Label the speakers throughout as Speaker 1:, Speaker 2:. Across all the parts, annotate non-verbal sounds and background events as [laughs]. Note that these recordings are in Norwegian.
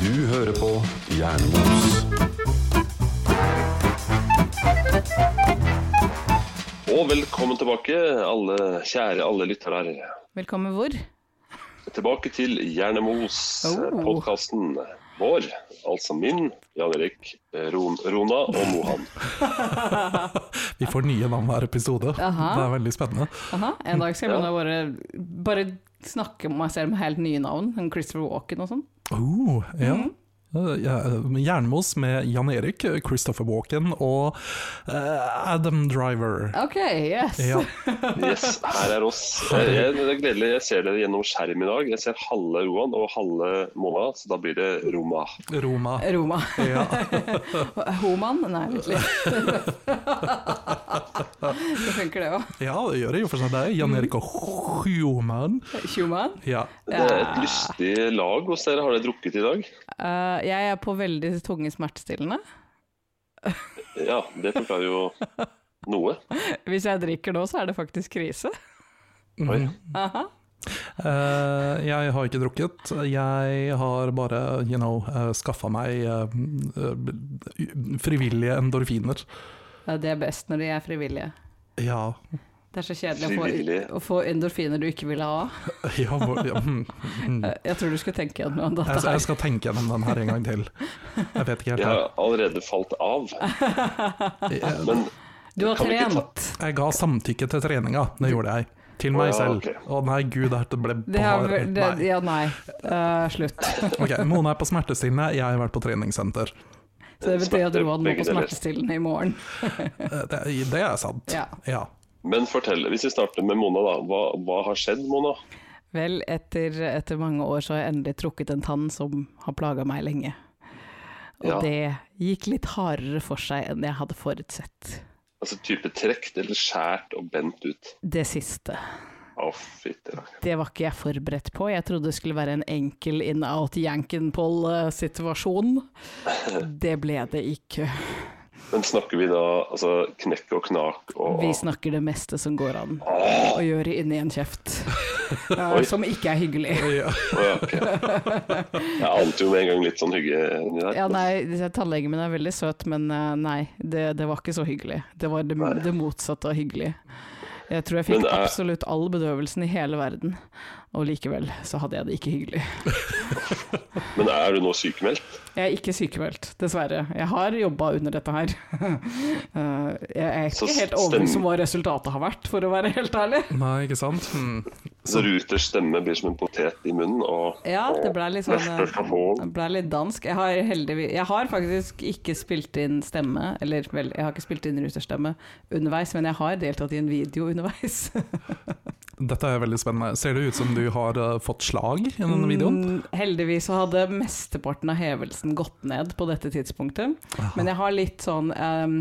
Speaker 1: Du hører på Jernmos.
Speaker 2: Og velkommen tilbake, alle kjære alle lyttere her.
Speaker 3: Velkommen hvor?
Speaker 2: Tilbake til Hjernemos,
Speaker 3: Oh.
Speaker 2: podkasten vår, altså min, Jan Erik, eh, Ron, Rona og Mohan.
Speaker 4: Vi får nye navn hver episode.
Speaker 3: Aha.
Speaker 4: Det er veldig spennende.
Speaker 3: Aha, en dag skal jeg
Speaker 2: Ja.
Speaker 3: begynne å bare, bare snakke om meg selv med helt nye navn. som Christopher Walken og sånn.
Speaker 4: Oh, ja. Eh, ja, eh, Jernmos med Jan Erik, eh, Christopher Walken og eh, Adam Driver.
Speaker 3: Ok, yes!
Speaker 4: Ja.
Speaker 2: Yes, her er oss. Jeg, jeg, det er gledelig, jeg ser dere gjennom skjerm i dag. Jeg ser halve Roan og halve Mona, så da blir det Roma.
Speaker 4: Roma.
Speaker 3: Roma.
Speaker 4: Ja.
Speaker 3: Homan? Nei, vent
Speaker 2: [laughs]
Speaker 3: litt. Det funker det òg.
Speaker 4: ja, det gjør det jo for seg. Det er Jan Erik og Human.
Speaker 3: Tjoman.
Speaker 4: Ja.
Speaker 2: Det er et lystig lag hos dere. Har dere drukket i dag?
Speaker 3: Eh, jeg er på veldig tunge smertestillende.
Speaker 2: Ja, det forklarer jo noe.
Speaker 3: Hvis jeg drikker nå, så er det faktisk krise.
Speaker 2: Oi.
Speaker 3: Aha.
Speaker 4: Mm. Eh, jeg har ikke drukket. Jeg har bare, you know, uh, skaffa meg eh, eh, frivillige endorfiner.
Speaker 3: Ja, Det er best når de er frivillige.
Speaker 4: Ja,
Speaker 3: Det er så kjedelig å få,
Speaker 2: Frivillige.
Speaker 3: å få endorfiner du ikke ville ha.
Speaker 4: ja, hvor- ja mm, mm.
Speaker 3: Eh, Jeg tror du skulle tenke gjennom dette
Speaker 4: Jeg,
Speaker 2: Altså,
Speaker 4: jeg
Speaker 3: her.
Speaker 4: skal tenke gjennom den her en gang til. Jeg vet ikke
Speaker 2: Jeg
Speaker 4: helt. Jeg,
Speaker 2: har allerede falt av.
Speaker 4: jeg,
Speaker 2: Men
Speaker 3: Du har
Speaker 2: Kan vi ikke ta-
Speaker 3: trent.
Speaker 4: jeg ga samtykke til treninga, det gjorde jeg. Til
Speaker 2: Å,
Speaker 4: meg
Speaker 2: ja,
Speaker 4: selv.
Speaker 2: ok.
Speaker 4: Å nei, gud, dette ble
Speaker 3: Det er,
Speaker 4: bare
Speaker 3: vel- det,
Speaker 4: Nei.
Speaker 3: ja, nei.
Speaker 2: [laughs]
Speaker 3: Eh, slutt.
Speaker 4: Ok, Mona er på smertestillende, jeg har vært på treningssenter.
Speaker 3: Så det betyr at
Speaker 2: Smerte,
Speaker 3: Roan må
Speaker 2: begge
Speaker 3: på
Speaker 2: deler.
Speaker 3: smertestillende i morgen.
Speaker 4: Eh, Det, det er sant.
Speaker 3: Ja.
Speaker 4: Ja.
Speaker 2: Men fortell, hvis vi starter med Mona, da. Hva, hva har skjedd, Mona?
Speaker 3: Vel, etter, etter mange år så har jeg endelig trukket en tann som har plaga meg lenge. Og
Speaker 2: Ja.
Speaker 3: det gikk litt hardere for seg enn jeg hadde forutsett.
Speaker 2: Altså type trekt eller skjært og bent ut?
Speaker 3: Det siste.
Speaker 2: Å, fytti rakkeren.
Speaker 3: Det var ikke jeg forberedt på. Jeg trodde det skulle være en enkel in-out-Jankenpoll-situasjon. Det ble det ikke.
Speaker 2: Men snakker vi da altså knekk og knak og
Speaker 3: Vi snakker det meste som går an å gjøre inni en kjeft.
Speaker 2: [laughs]
Speaker 3: Eh,
Speaker 2: Oi.
Speaker 3: Som ikke er hyggelig.
Speaker 2: Å, ja, ok. Jeg ante jo med en gang litt sånn hygge inni der.
Speaker 3: Ja, nei, disse- tannlegen min er veldig søt, men eh, nei, det, det var ikke så hyggelig. Det var det, det motsatte av hyggelig. Jeg tror jeg fikk
Speaker 2: Men, eh,
Speaker 3: absolutt all bedøvelsen i hele verden, og likevel så hadde jeg det ikke hyggelig.
Speaker 2: Men er du nå sykemeldt?
Speaker 3: Jeg er ikke sykemeldt, dessverre. Jeg har jobba under dette her. [laughs] Eh, jeg er
Speaker 2: Så
Speaker 3: ikke helt
Speaker 2: stem-
Speaker 3: overbevist om hva resultatet har vært, for å være helt ærlig.
Speaker 4: Nei, ikke sant? Hmm.
Speaker 2: Så Ruters stemme blir som en potet i munnen og
Speaker 3: Ja, det ble litt sånn eh,
Speaker 2: Sånn,
Speaker 3: Det ble litt dansk. Jeg har, heldigvis, jeg har faktisk ikke spilt inn stemme, eller vel, jeg har ikke spilt inn ruterstemme underveis, men jeg har deltatt i en video underveis.
Speaker 4: Dette er veldig spennende. Ser det ut som du har eh, fått slag i denne videoen?
Speaker 3: Mm, Heldigvis så hadde mesteparten av hevelsen gått ned på dette tidspunktet. Men jeg har litt sånn eh,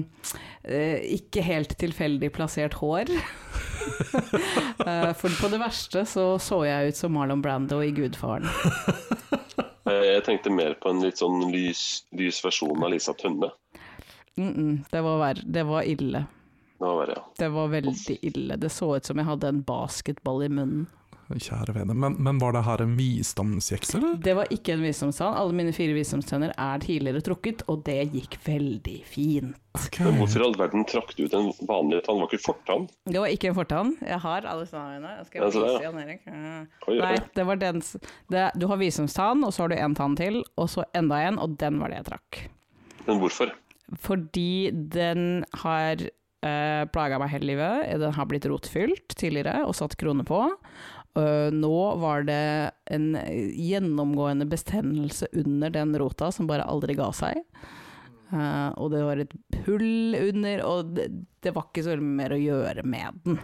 Speaker 3: eh, ikke helt tilfeldig plassert hår. [laughs] Eh, for på det verste så så jeg ut som Marlon Brando i 'Gudfaren'.
Speaker 2: Jeg tenkte mer på en litt sånn lys, lys versjon av Lisa Tønne.
Speaker 3: Mm -mm, det, var verre. det var ille.
Speaker 2: Det var verre, ja.
Speaker 3: Det var veldig ille. Det så ut som jeg hadde en basketball i munnen.
Speaker 4: Kjære vene. Men, men var det her en visdomsjeks, eller?
Speaker 3: Det var ikke en visdomstann. Alle mine fire visdomstenner er tidligere trukket, og det gikk veldig fint.
Speaker 4: Ok.
Speaker 2: Men hvorfor i all verden trakk du ut en vanlig tann? Var ikke fortann?
Speaker 3: Det var ikke en fortann. Jeg har alle stannene. Jeg skal
Speaker 2: Ja, så der, ja.
Speaker 3: vise Jan Erik.
Speaker 2: Oi, oi, oi.
Speaker 3: Nei, det var den s- det, Du har visdomstann, og så har du en tann til, og så enda en, og den var det jeg trakk.
Speaker 2: Men hvorfor?
Speaker 3: Fordi den har uh, plaga meg hele livet. Den har blitt rotfylt tidligere og satt kroner på. Eh, nå var det en gjennomgående bestemmelse under den rota som bare aldri ga seg. Eh, og det var et hull under, og det, det var ikke så veldig mer å gjøre med den.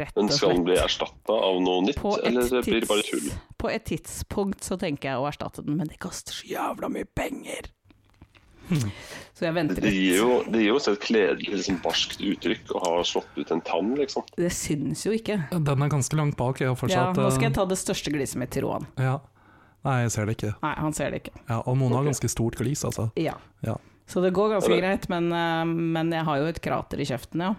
Speaker 3: Rett
Speaker 2: Men
Speaker 3: og
Speaker 2: skal den bli
Speaker 3: slett.
Speaker 2: erstatta av noe nytt,
Speaker 3: På et,
Speaker 2: eller blir det bare tull?
Speaker 3: tids, på et tidspunkt så tenker jeg å erstatte den, men det koster så jævla mye penger.
Speaker 2: Hmm.
Speaker 3: Så jeg venter
Speaker 2: Det
Speaker 3: litt.
Speaker 2: gir jo, det gir jo også et kledelig, liksom, barskt uttrykk å ha slått ut en tann, liksom.
Speaker 3: Det syns jo ikke.
Speaker 4: Den er ganske langt bak. Jeg har
Speaker 3: Ja,
Speaker 4: fortsatt
Speaker 3: nå skal jeg
Speaker 4: eh,
Speaker 3: ta det største gliset mitt til Roan.
Speaker 4: ja. Nei, jeg ser det ikke.
Speaker 3: Nei, han ser det ikke.
Speaker 4: Ja, og Mona har ganske stort glis, altså.
Speaker 3: Ja.
Speaker 4: Ja.
Speaker 3: Så det går ganske
Speaker 2: Ja, det-
Speaker 3: greit, men, eh, men jeg har jo et krater i kjeften, ja.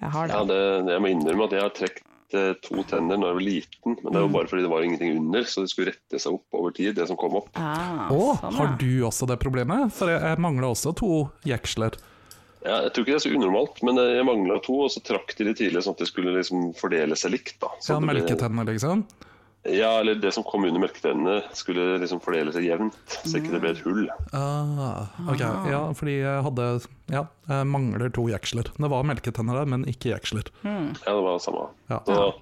Speaker 3: Jeg har
Speaker 2: Ja,
Speaker 3: det.
Speaker 2: det, jeg må innrømme at jeg har trukket eh, to tenner når jeg var liten, men det var bare fordi det var ingenting under, så det skulle rette seg opp over tid, det som kom opp.
Speaker 3: Ah,
Speaker 4: Å,
Speaker 3: sånn,
Speaker 4: har
Speaker 3: ja.
Speaker 4: du også det problemet? For jeg, jeg mangler også to jeksler.
Speaker 2: Ja, jeg tror ikke det er så unormalt, men eh, jeg mangla to, og så trakk de litt tidlig, sånn at de skulle liksom fordele seg likt. da.
Speaker 4: Ja,
Speaker 2: Sånn at det ble-
Speaker 4: melketenner, liksom.
Speaker 2: Ja, eller det som kom under melketennene, skulle liksom fordele seg jevnt, så ikke det ble et hull.
Speaker 4: Ah, ok, ja, fordi jeg hadde Ja, jeg mangler to jeksler. Det var melketenner der, men ikke jeksler.
Speaker 2: Ja, det var det samme.
Speaker 4: Ja.
Speaker 2: Så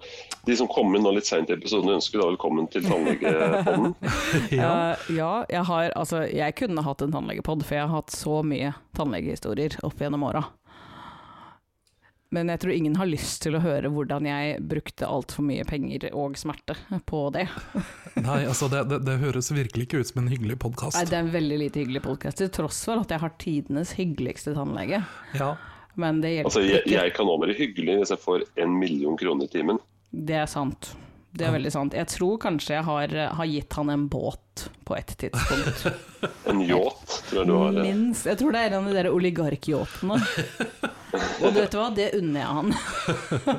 Speaker 2: de som kom inn nå litt seint i episoden, ønsker da velkommen til tannlegepodden.
Speaker 4: [laughs] Ja.
Speaker 3: Eh, ja, jeg har Altså, jeg kunne hatt en tannlegepod, for jeg har hatt så mye tannlegehistorier opp gjennom åra. Men jeg tror ingen har lyst til å høre hvordan jeg brukte altfor mye penger og smerte på det.
Speaker 4: Nei, altså, det, det, det høres virkelig ikke ut som en hyggelig
Speaker 3: Nei,
Speaker 4: podkast.
Speaker 3: det er en veldig lite hyggelig podkast, til tross for at jeg har tidenes hyggeligste tannlege.
Speaker 4: Ja.
Speaker 3: Men det hjelper
Speaker 2: Altså, jeg,
Speaker 3: ikke.
Speaker 2: jeg kan nå være hyggelig hvis jeg får en million kroner i timen.
Speaker 3: Det er sant. Det er veldig sant. Jeg tror kanskje jeg har, eh, har gitt han en båt på et tidspunkt.
Speaker 2: En yacht, tror jeg [laughs] du har. eh,
Speaker 3: Minst. Jeg tror det er en av de der
Speaker 2: [laughs]
Speaker 3: oligarkyachtene. Og vet du hva, det unner jeg han.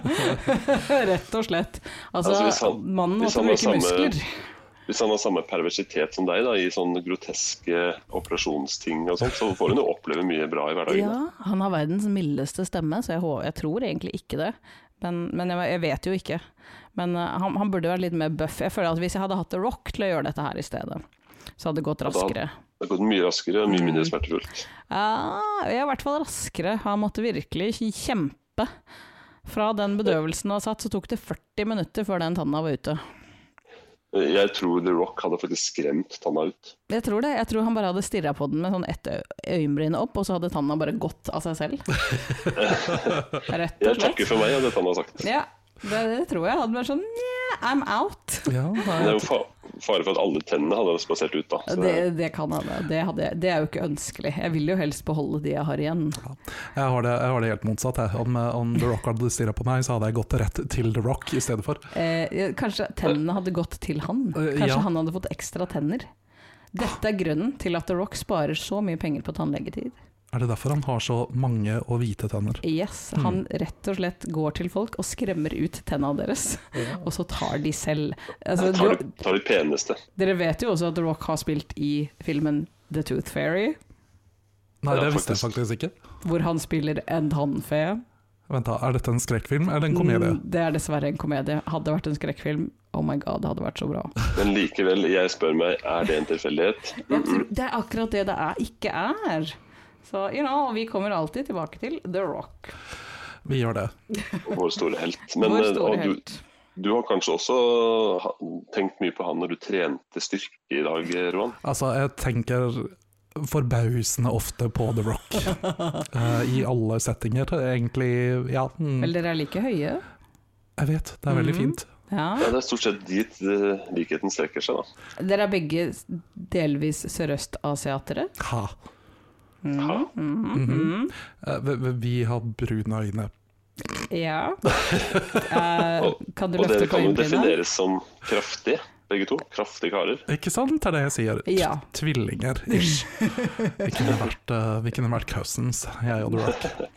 Speaker 3: [laughs] Rett og slett. Altså,
Speaker 2: Altså, hvis han-
Speaker 3: mannen
Speaker 2: hvis
Speaker 3: måtte
Speaker 2: han har
Speaker 3: bruke
Speaker 2: samme-
Speaker 3: muskler.
Speaker 2: Hvis han har samme perversitet som deg da, i sånne groteske operasjonsting og sånt, så får hun jo oppleve mye bra i hverdagen.
Speaker 3: Ja, han har verdens mildeste stemme, så jeg, hå- jeg tror egentlig ikke det. Men, men jeg, jeg vet jo ikke. Men eh, han, han burde vært litt mer buff. Jeg føler at hvis jeg hadde hatt The Rock til å gjøre dette her i stedet, så hadde det gått
Speaker 2: da-
Speaker 3: raskere.
Speaker 2: Det har gått mye raskere og mye
Speaker 3: Mm.
Speaker 2: mindre smertefullt.
Speaker 3: Ja, jeg er i hvert fall raskere. Han måtte virkelig kjempe. Fra den bedøvelsen han satt, så tok det 40 minutter før den tanna var ute.
Speaker 2: Jeg tror The Rock hadde faktisk skremt tanna ut.
Speaker 3: Jeg tror det. Jeg tror han bare hadde stirra på den med sånn ett ø- øyenbryn opp, og så hadde tanna bare gått av seg selv.
Speaker 2: [laughs]
Speaker 3: Rett og
Speaker 2: Jeg
Speaker 3: slett.
Speaker 2: takker for meg, er det han har sagt.
Speaker 3: Ja, det, det tror jeg. Han bare sånn yeah, I'm out.
Speaker 4: ja
Speaker 2: Men det
Speaker 4: nei,
Speaker 2: er jo fa- fare for at alle tennene hadde spasert ut, da. Så
Speaker 3: Det, det kan han. Det, hadde, jeg- det er jo ikke ønskelig. Jeg vil jo helst beholde de jeg har igjen.
Speaker 4: jeg, har det, jeg har det helt motsatt. Jeg. Om, eh, om The Rock hadde stirra på meg, så hadde jeg gått rett til The Rock i stedet for.
Speaker 3: Eh, kanskje tennene hadde gått til han?
Speaker 4: Eh,
Speaker 3: Kanskje
Speaker 4: ja.
Speaker 3: han hadde fått ekstra tenner? Dette er grunnen til at The Rock sparer så mye penger på tannlegetid.
Speaker 4: Er det derfor han har så mange og hvite tenner?
Speaker 3: Yes,
Speaker 4: Mm.
Speaker 3: Han rett og slett går til folk og skremmer ut tenna deres, [laughs] og så tar de selv. Altså,
Speaker 2: tar,
Speaker 3: du-
Speaker 2: de- tar de peneste.
Speaker 3: dere vet jo også at The Rock har spilt i filmen The Tooth Fairy,
Speaker 4: Nei,
Speaker 2: Ja,
Speaker 4: det visste jeg faktisk ikke.
Speaker 3: hvor han spiller en tannfe.
Speaker 4: Vent da, Er dette en skrekkfilm eller en komedie?
Speaker 3: Mm, Det er dessverre en komedie. Hadde det vært en skrekkfilm, oh my god, det hadde vært så bra.
Speaker 2: Men likevel, jeg spør meg, er det en tilfeldighet?
Speaker 3: Jeg tror, det er akkurat det det er, ikke er. Så you know, vi kommer alltid tilbake til The Rock. Mm.
Speaker 4: Vi gjør det.
Speaker 2: Vår store helt. Men
Speaker 3: Vår
Speaker 2: eh,
Speaker 3: store
Speaker 2: og du,
Speaker 3: helt.
Speaker 2: du har kanskje også ha- tenkt mye på han når du trente styrke i dag, eh, Roan?
Speaker 4: Altså, jeg tenker forbausende ofte på The Rock.
Speaker 3: [laughs]
Speaker 4: Eh, I alle settinger, egentlig. Ja, mm,
Speaker 3: Vel, dere er like høye.
Speaker 4: jeg vet. Det er
Speaker 3: Mhm.
Speaker 4: veldig fint.
Speaker 3: Ja.
Speaker 2: Ja, det er stort sett dit eh, likheten strekker seg, da.
Speaker 3: Dere er begge delvis sørøstasiatere.
Speaker 4: Ha.
Speaker 3: Mm,
Speaker 2: Ha.
Speaker 4: Eh, vi- vi- Vi har brune øyne.
Speaker 2: [laughs]
Speaker 3: Ja. Eh,
Speaker 2: Og,
Speaker 3: kan du
Speaker 2: og
Speaker 3: løfte
Speaker 2: dere
Speaker 3: på
Speaker 2: kan jo
Speaker 3: [laughs] øyenbryna?
Speaker 2: defineres som kraftige, begge to. Kraftige karer.
Speaker 4: Ikke sant, er det jeg sier? T-
Speaker 3: Ja.
Speaker 4: Tvillinger, ish. Vi kunne vært, eh, vi kunne vært cousins, jeg og The Rock.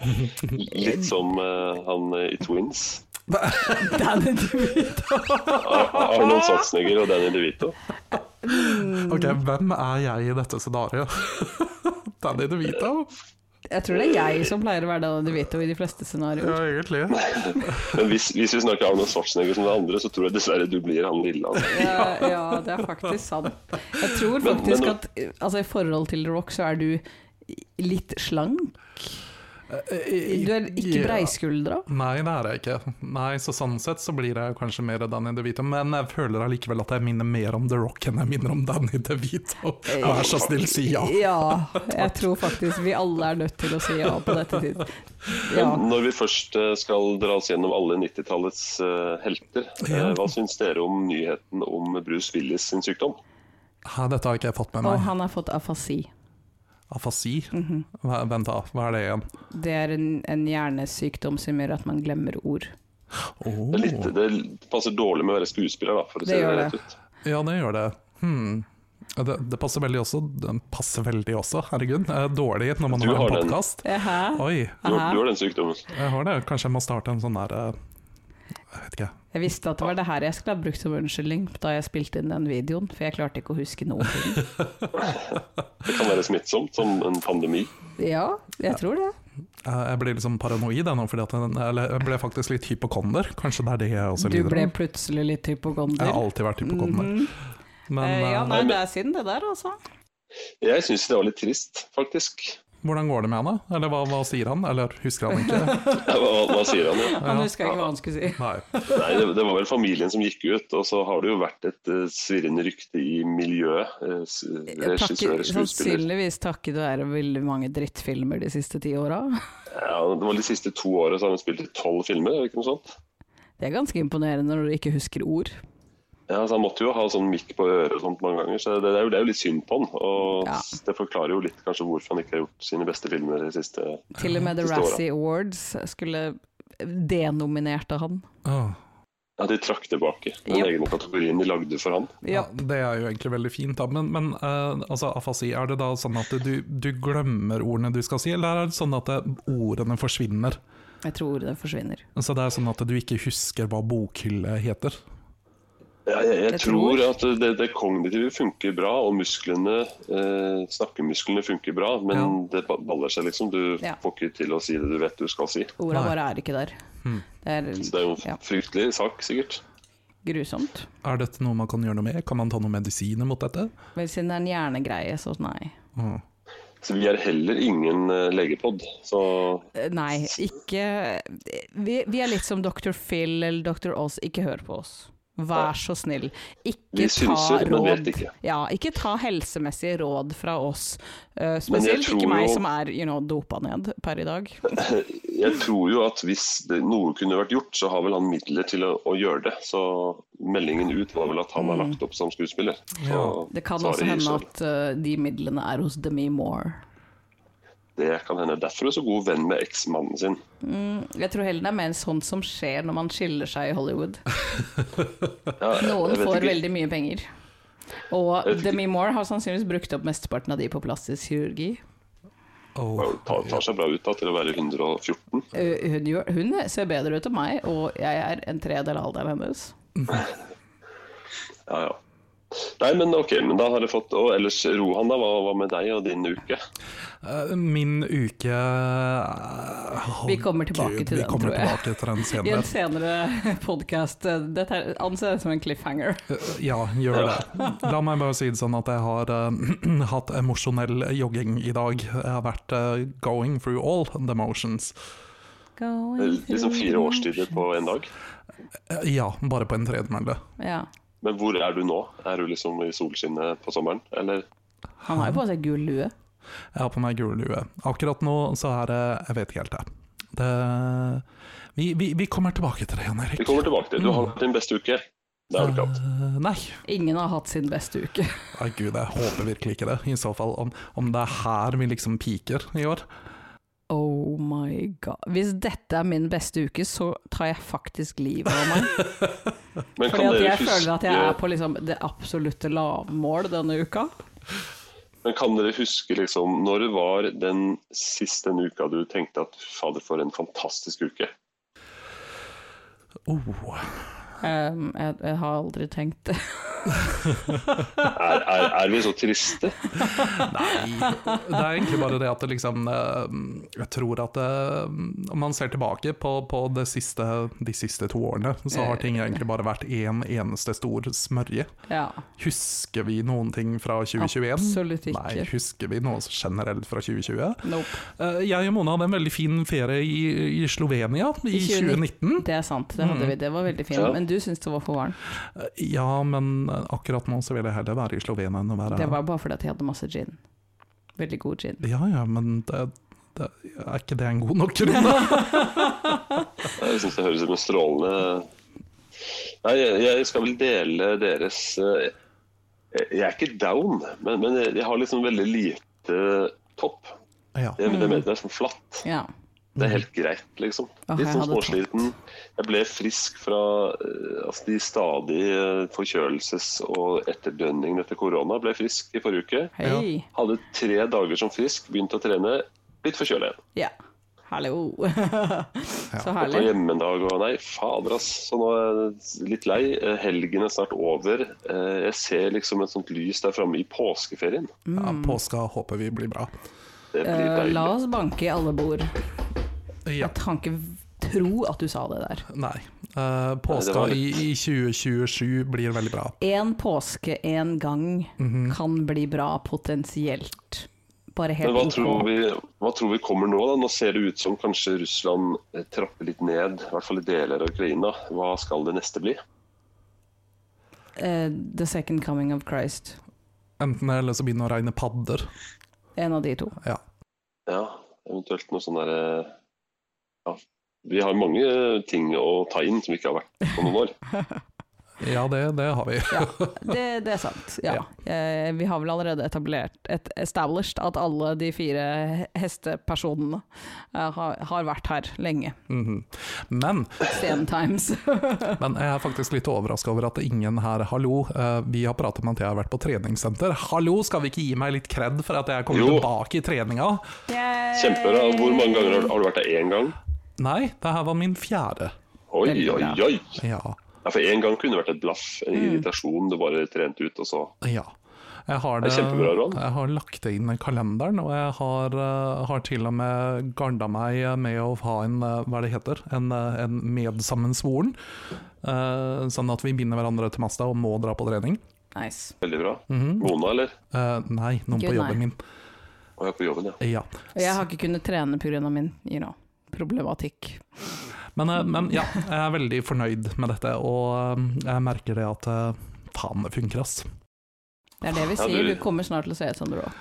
Speaker 2: Litt som eh, han eh, i Twins.
Speaker 3: Danny DeVito.
Speaker 2: Ar- Arnold Schwarzenegger og Danny DeVito.
Speaker 3: Mm.
Speaker 4: Ok, hvem er jeg i dette scenarioet? [laughs] Danny DeVito?
Speaker 3: Jeg tror det er jeg som pleier å være Danny DeVito i de fleste scenarioer.
Speaker 4: Ja, egentlig.
Speaker 2: Men hvis, hvis vi snakker Arnold Schwarzenegger som det andre, så tror jeg dessverre du blir han lille. Altså.
Speaker 3: Ja, ja, det er faktisk sant. Jeg tror
Speaker 2: Men-
Speaker 3: faktisk
Speaker 2: men-
Speaker 3: at eh, altså, i forhold til The Rock så er du litt slank. Du er ikke
Speaker 4: Ja.
Speaker 3: breiskuldra.
Speaker 4: Nei, det er jeg ikke. Nei, så Sånn sett så blir jeg kanskje mer Danny DeVito, men jeg føler allikevel at jeg minner mer om The Rock enn jeg minner om Danny DeVito. Vær så snill, si ja!
Speaker 3: Ja, [laughs] jeg tror faktisk vi alle er nødt til å si ja på dette tid. Ja.
Speaker 2: Men Når vi først eh, skal dra oss gjennom alle 90-tallets eh, helter, eh, hva syns dere om nyheten om Bruce Willis sin sykdom?
Speaker 4: Hæ, dette har ikke jeg fått med
Speaker 3: Og
Speaker 4: meg.
Speaker 3: han har fått afasi.
Speaker 4: Afasi? Hva, vent, da, hva er det igjen?
Speaker 3: Det er en, en hjernesykdom som gjør at man glemmer ord.
Speaker 2: Det, er litt, det passer dårlig med å være skuespiller, da, for å
Speaker 3: Det
Speaker 2: se det
Speaker 3: gjør
Speaker 2: rett
Speaker 3: det.
Speaker 2: ut.
Speaker 4: Ja, det gjør det. Hmm. Det, det passer veldig også. Den passer veldig også, herregud. Jeg er dårlig når man
Speaker 2: Du
Speaker 4: har
Speaker 2: har
Speaker 4: en
Speaker 2: den.
Speaker 4: podkast.
Speaker 3: Jaha.
Speaker 4: Oi,
Speaker 2: Du, har- du har den sykdommen.
Speaker 4: jeg har det. Kanskje jeg må starte en sånn der eh, Jeg vet ikke.
Speaker 3: Jeg visste at det var det her jeg skulle ha brukt som unnskyldning da jeg spilte inn den videoen, for jeg klarte ikke å huske noe.
Speaker 2: Det kan være smittsomt, som en pandemi.
Speaker 3: [laughs] Ja, jeg tror det.
Speaker 4: Eh, Jeg blir liksom paranoid jeg nå, fordi at den, eller jeg ble faktisk litt hypokonder. Kanskje det er det jeg også
Speaker 3: Du
Speaker 4: lider
Speaker 3: ble
Speaker 4: av.
Speaker 3: plutselig litt
Speaker 4: Jeg har
Speaker 3: hypokonder.
Speaker 4: alltid vært hypokonder.
Speaker 3: Mhm.
Speaker 4: Men
Speaker 3: Eh, ja,
Speaker 4: eh,
Speaker 3: nei, det er synd det der, altså.
Speaker 2: Jeg syns det var litt trist, faktisk.
Speaker 4: hvordan går det med henne? Eller hva, hva sier han? Eller husker han
Speaker 3: [laughs]
Speaker 4: ikke?
Speaker 2: Ja, Hva, hva sier han? Ja?
Speaker 3: Han huska ikke hva han skulle si.
Speaker 4: Nei.
Speaker 2: Nei, det, det var vel familien som gikk ut, og så har det jo vært et eh, svirrende rykte i miljøet. eh, s- Regissører,
Speaker 3: Takket-
Speaker 2: skuespillere.
Speaker 3: sannsynligvis takket være veldig mange drittfilmer de siste ti åra.
Speaker 2: Ja, det var De siste to årene så har han spilt i tolv filmer, eller ikke noe sånt.
Speaker 3: Det er ganske imponerende når du ikke husker ord.
Speaker 2: Ja, så Han måtte jo ha sånn mikk på øret og sånt mange ganger, så det, det, er jo, det er jo litt synd på han. Og
Speaker 3: Ja.
Speaker 2: s- Det forklarer jo litt kanskje hvorfor han ikke har gjort sine beste filmer de siste
Speaker 3: Til og med The
Speaker 2: Det står da.
Speaker 3: Razzie Awards skulle denominerte han.
Speaker 4: Åh.
Speaker 2: Ja, De trakk tilbake den
Speaker 3: Ja.
Speaker 2: egne kategorien de lagde for han.
Speaker 4: Ja, det er jo egentlig veldig fint, da. Men, men eh, altså, afasi, er det da sånn at du, du glemmer ordene du skal si, eller er det sånn at eh, ordene forsvinner?
Speaker 3: Jeg tror ordene forsvinner.
Speaker 4: Så det er sånn at du ikke husker hva bokhylle heter?
Speaker 2: Ja, jeg, jeg
Speaker 3: Jeg
Speaker 2: tror
Speaker 3: tror.
Speaker 2: at det, det kognitive funker bra, og musklene, eh, snakkemusklene funker bra, men det ba- baller seg liksom. Du
Speaker 3: Ja.
Speaker 2: får ikke til å si det du vet du skal si.
Speaker 3: Orda
Speaker 4: Nei. Hmm.
Speaker 3: bare er ikke der. Det er
Speaker 2: Så det er jo en
Speaker 3: Ja.
Speaker 2: fryktelig sak, sikkert.
Speaker 3: grusomt.
Speaker 4: Er dette noe man kan gjøre noe med? Kan man ta noen medisiner mot dette?
Speaker 3: Vel, siden det er en hjernegreie, så nei.
Speaker 4: Åh.
Speaker 2: Så vi er heller ingen eh, legepod. Så
Speaker 3: Eh, Nei, ikke Vi, vi er litt som Dr. Phil eller Dr. Oz, ikke hør på oss. Vær så snill. Ikke
Speaker 2: Vi
Speaker 3: ta
Speaker 2: synser, men
Speaker 3: råd.
Speaker 2: vet ikke.
Speaker 3: Ja, ikke ta helsemessige råd fra oss. Eh,
Speaker 2: Men jeg
Speaker 3: spesielt
Speaker 2: tror
Speaker 3: ikke meg
Speaker 2: jo-
Speaker 3: som er you know, dopa ned per i dag.
Speaker 2: jeg tror jo at hvis det, noe kunne vært gjort, så har vel han midler til å, å gjøre det. Så meldingen ut var vel at han har lagt opp som skuespiller. Så,
Speaker 3: Mm. Det kan
Speaker 2: så har
Speaker 3: også
Speaker 2: de
Speaker 3: hende
Speaker 2: så-
Speaker 3: at eh, de midlene er hos Demi Moore.
Speaker 2: Det kan hende. Derfor er hun så god venn med eksmannen sin.
Speaker 3: Jeg tror heller det er mer sånt som skjer når man skiller seg i
Speaker 2: [laughs]
Speaker 3: Hollywood.
Speaker 2: Ja, jeg-
Speaker 3: Noen
Speaker 2: jeg vet
Speaker 3: får
Speaker 2: ikke-
Speaker 3: veldig mye penger.
Speaker 2: Jeg
Speaker 3: Og
Speaker 2: vet ikke.
Speaker 3: Demi Moore har sannsynligvis brukt opp mesteparten av de på plastisk kirurgi.
Speaker 4: Åh.
Speaker 2: tar, tar seg bra ut da, til å være 114.
Speaker 3: Eh, Hun, gjør- hun ser bedre ut enn meg, og jeg er en tredel av alderen hennes.
Speaker 2: Ja, ja. Nei, men ok, men da har jeg fått Og ellers, Rohan, da, hva hva med deg og din uke?
Speaker 4: Eh, Min uke Åh,
Speaker 3: Vi kommer tilbake til
Speaker 4: vi
Speaker 3: den,
Speaker 4: kommer
Speaker 3: tror jeg.
Speaker 4: tilbake til
Speaker 3: [laughs]
Speaker 4: den
Speaker 3: I en
Speaker 4: senere.
Speaker 3: senere podkast. Dette er- anser jeg som en cliffhanger.
Speaker 4: Eh, Ja, gjør det. La meg bare si det sånn at jeg har eh, [clears throat] hatt emosjonell jogging i dag. Jeg har vært eh, going through all the motions.
Speaker 2: Det er Liksom fire årstider på en dag.
Speaker 4: Eh, Ja, bare på en tredemølle.
Speaker 3: Ja.
Speaker 2: Men hvor er du nå? Er du liksom i solskinnet på sommeren, eller?
Speaker 3: Han har jo på seg gul lue.
Speaker 4: Jeg har på meg gul lue. Akkurat nå så er det Jeg vet ikke helt, jeg. Det, vi, vi, vi kommer tilbake til det igjen, Erik.
Speaker 2: Vi kommer tilbake til det. Du har hatt din beste uke. Det har du ikke hatt.
Speaker 4: Eh, Nei.
Speaker 3: Ingen har hatt sin beste uke.
Speaker 4: Nei, gud, jeg håper virkelig ikke det. I så fall om, om det er her vi liksom piker i år.
Speaker 3: Oh my god. Hvis dette er min beste uke, så tar jeg faktisk livet av
Speaker 2: [laughs]
Speaker 3: meg.
Speaker 2: Men
Speaker 3: Fordi
Speaker 2: kan
Speaker 3: at
Speaker 2: dere
Speaker 3: jeg føler at jeg er
Speaker 2: huske,
Speaker 3: på liksom det absolutte lavmål denne uka.
Speaker 2: men kan dere huske liksom, når det var den siste den uka du tenkte at fader, for en fantastisk uke?
Speaker 4: Oh.
Speaker 3: Um, jeg, jeg har aldri tenkt [laughs] det.
Speaker 2: Er, er, er vi så triste?
Speaker 4: Nei, det er egentlig bare det at det liksom eh, Jeg tror at eh, om man ser tilbake på, på det siste, de siste to årene, så har ting egentlig bare vært én eneste stor smørje.
Speaker 3: Ja.
Speaker 4: Husker vi noen ting fra 2021?
Speaker 3: Absolutt ikke.
Speaker 4: Nei, husker vi noe generelt fra 2020?
Speaker 3: Nope.
Speaker 4: Eh, Jeg og Mona hadde en veldig fin ferie i, i Slovenia i 2019.
Speaker 3: Det er sant, det hadde vi. Det var veldig fint.
Speaker 2: Mm. Ja.
Speaker 3: Men du syntes det var for varmt.
Speaker 4: Eh, Ja, men eh, akkurat nå så vil jeg heller være i Slovenia enn å være
Speaker 3: Det var bare fordi at jeg hadde masse gin. Veldig god gin.
Speaker 4: Ja ja, men det, det, er ikke det en god nok grunn?
Speaker 2: [laughs] Jeg syns det høres ut som en strålende Nei, jeg, jeg skal vel dele deres eh, Jeg jeg er ikke down, men, men jeg jeg har liksom veldig lite topp.
Speaker 4: Ja.
Speaker 2: Det, det, det er sånn flatt.
Speaker 3: Ja.
Speaker 2: Det er helt greit, liksom.
Speaker 3: Mm. Åh,
Speaker 2: Litt
Speaker 3: jeg
Speaker 2: sånn
Speaker 3: hadde
Speaker 2: småsliten. Jeg ble frisk fra eh, altså de stadig eh, forkjølelses- og etterdønningene etter korona. Ble frisk i forrige uke.
Speaker 3: Hei.
Speaker 2: Hadde tre dager som frisk, begynte å trene, blitt forkjøla igjen.
Speaker 3: Ja. Hallo. [laughs] Så
Speaker 2: På
Speaker 3: herlig.
Speaker 2: hjemmedag og nei, fader ass. Så nå er jeg litt lei. Eh, Helgen er snart over. Eh, Jeg ser liksom et sånt lys der framme i påskeferien.
Speaker 4: Ja, påska håper vi blir bra.
Speaker 2: Det blir
Speaker 3: Eh,
Speaker 2: deilig.
Speaker 3: la oss banke i alle bord.
Speaker 4: Ja.
Speaker 3: Jeg kan ikke tro at du sa det der.
Speaker 4: Nei. Eh, påska
Speaker 2: var
Speaker 4: i, i 2027 blir veldig bra.
Speaker 3: Én påske én gang kan bli bra potensielt. Bare helt
Speaker 2: Men hva
Speaker 3: ok.
Speaker 2: tror, vi, hva tror vi kommer nå? da? Nå ser det ut som kanskje Russland eh, trapper litt ned, i hvert fall i deler av Ukraina. Hva skal det neste bli?
Speaker 3: Eh, the second coming of Christ.
Speaker 4: Enten det, eller så begynner det å regne padder.
Speaker 3: En av de to.
Speaker 4: Ja.
Speaker 2: Ja, eventuelt noe sånn derre ja. Vi har mange ting å ta inn som ikke har vært på noen år.
Speaker 4: Ja, det, det har vi.
Speaker 3: Det, det er sant, ja. Eh, vi har vel allerede etablert et established at alle de fire hestepersonene eh, har, har vært her lenge.
Speaker 4: Mhm. Men,
Speaker 3: Same
Speaker 2: [laughs]
Speaker 3: times.
Speaker 4: men jeg er faktisk litt overraska over at ingen her Hallo, eh, vi har pratet om at jeg har vært på treningssenter. Hallo, skal vi ikke gi meg litt kred for at jeg kommer
Speaker 2: Jo.
Speaker 4: tilbake i treninga?
Speaker 2: Kjempebra. Hvor mange ganger har du- har du vært der? Én gang?
Speaker 4: Nei, det her var min fjerde.
Speaker 2: Oi,
Speaker 3: Veldig
Speaker 2: oi,
Speaker 3: bra.
Speaker 2: oi!
Speaker 4: Ja.
Speaker 2: Ja, for én gang kunne det vært et blaff, en
Speaker 3: Mm.
Speaker 2: irritasjon du bare trente ut, og så
Speaker 4: Ja. Jeg har,
Speaker 2: Det
Speaker 4: det,
Speaker 2: er kjempebra, Roald.
Speaker 4: jeg har lagt det inn i kalenderen, og jeg har, eh, har til og med garda meg med å ha en, eh, hva det heter, en, eh, en medsammensvoren. eh, sånn at vi binder hverandre til masta og må dra på trening.
Speaker 3: Nice.
Speaker 2: Veldig bra. Mona, eller?
Speaker 4: Eh, nei, noen
Speaker 3: Gud,
Speaker 4: på
Speaker 3: nei.
Speaker 4: jobben min.
Speaker 2: Å, jeg er på jobben, ja. [laughs]
Speaker 4: Ja.
Speaker 3: Og jeg har ikke kunnet trene pga. min you know, problematikk.
Speaker 4: Men, eh, men ja, jeg er veldig fornøyd med dette, og eh, jeg merker det at eh, faen, det funker, ass.
Speaker 3: Det er det vi
Speaker 2: Ja,
Speaker 3: sier.
Speaker 2: du-
Speaker 3: Du kommer snart til å se ut som The Rock.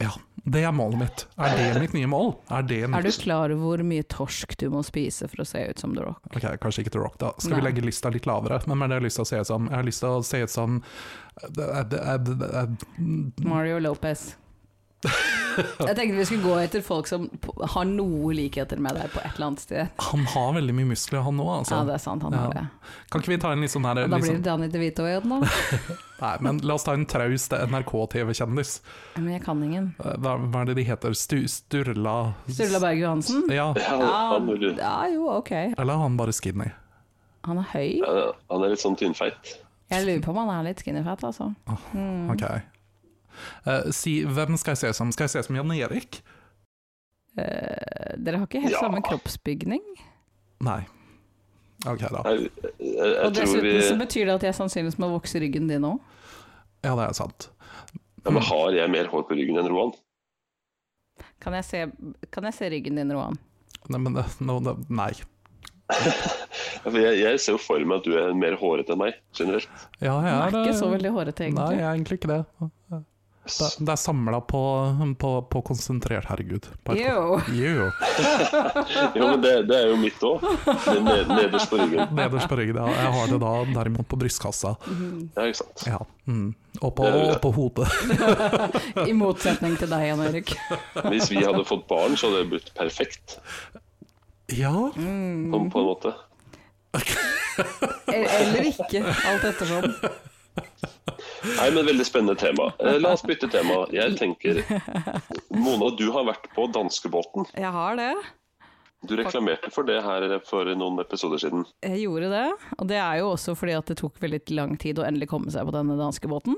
Speaker 4: Ja, det er målet mitt. Er det mitt nye mål? Er det
Speaker 3: Er
Speaker 4: mitt
Speaker 3: du klar over hvor mye torsk du må spise for å se ut som The Rock?
Speaker 4: Ok, kanskje ikke The Rock, da. Skal vi
Speaker 3: Nei.
Speaker 4: legge lista litt lavere? Hvem er det jeg har lyst til å se ut som? Jeg har lyst til å se ut som det er- det er- det er-
Speaker 3: Mario Lopez. Jeg tenkte vi skulle gå etter folk som p- har noe likheter med deg på et eller annet sted.
Speaker 4: Han har veldig mye muskler, han òg,
Speaker 3: Ja, det
Speaker 4: altså.
Speaker 3: er sant, han
Speaker 4: Ja.
Speaker 3: har det.
Speaker 4: Kan ikke vi ta en litt sånn her
Speaker 3: Og da blir
Speaker 4: liksom,
Speaker 3: det Danny DeVito igjen, da.
Speaker 4: [laughs] Nei, men la oss ta en traust NRK-TV-kjendis. Eh,
Speaker 3: Men jeg kan ingen.
Speaker 4: Hva, hva er det de heter? Stu, Sturla
Speaker 3: Sturla Berg Johansen?
Speaker 4: Ja.
Speaker 2: ja,
Speaker 3: Ja,
Speaker 2: han, vil-
Speaker 3: ja, jo, ok.
Speaker 4: Eller er han bare skinny?
Speaker 3: Han er høy.
Speaker 2: ja, han er litt sånn tynnfeit.
Speaker 3: Jeg lurer på om han er litt skinny fat, altså.
Speaker 4: Ok. Eh, si, hvem skal jeg se som? Skal jeg se som Jan Erik?
Speaker 3: Eh, Dere har ikke helt
Speaker 2: Ja.
Speaker 3: samme kroppsbygning.
Speaker 4: Nei. Ok, da.
Speaker 2: Jeg, jeg, jeg,
Speaker 3: Og
Speaker 2: tror vi
Speaker 3: dessuten så betyr det at jeg sannsynligvis må vokse ryggen din òg.
Speaker 4: Ja, det er sant.
Speaker 2: ja, men Har jeg mer hår på ryggen enn Roan?
Speaker 3: Kan, jeg se- kan jeg se ryggen din, Roan?
Speaker 4: Nei, men det- nå- det- Nei.
Speaker 2: Ja, for Jeg, jeg ser jo for meg at du er mer hårete enn meg,
Speaker 3: [laughs]
Speaker 2: generelt.
Speaker 4: Ja, jeg
Speaker 3: Han
Speaker 4: er,
Speaker 3: er ikke så
Speaker 4: eh,
Speaker 3: veldig hårete,
Speaker 4: Nei,
Speaker 3: egentlig.
Speaker 4: jeg er egentlig ikke det. Det,
Speaker 2: S-
Speaker 4: det er samla på, på, på konsentrert, herregud. På et-
Speaker 3: Jo.
Speaker 4: Jo.
Speaker 2: Jo, men det, det er jo mitt òg. Nederst på ryggen.
Speaker 4: Nederst på ryggen. Ja. Jeg har det da derimot på brystkassa.
Speaker 2: Ja, ikke sant.
Speaker 4: Ja. Mm. Og, på, og på hodet.
Speaker 3: [laughs] I motsetning til deg, Jan [laughs] Erik.
Speaker 2: Hvis vi hadde fått barn, så hadde det blitt perfekt,
Speaker 4: Ja,
Speaker 2: på, på en måte.
Speaker 3: E- Eller ikke, alt ettersom.
Speaker 2: Nei, men veldig spennende tema. Eh, La oss bytte tema. Jeg tenker Mona, du har vært på danskebåten.
Speaker 3: Jeg har det.
Speaker 2: Du reklamerte for det her for noen episoder siden.
Speaker 3: Jeg gjorde det. Og det er jo også fordi at det tok veldig lang tid å endelig komme seg på denne danske båten.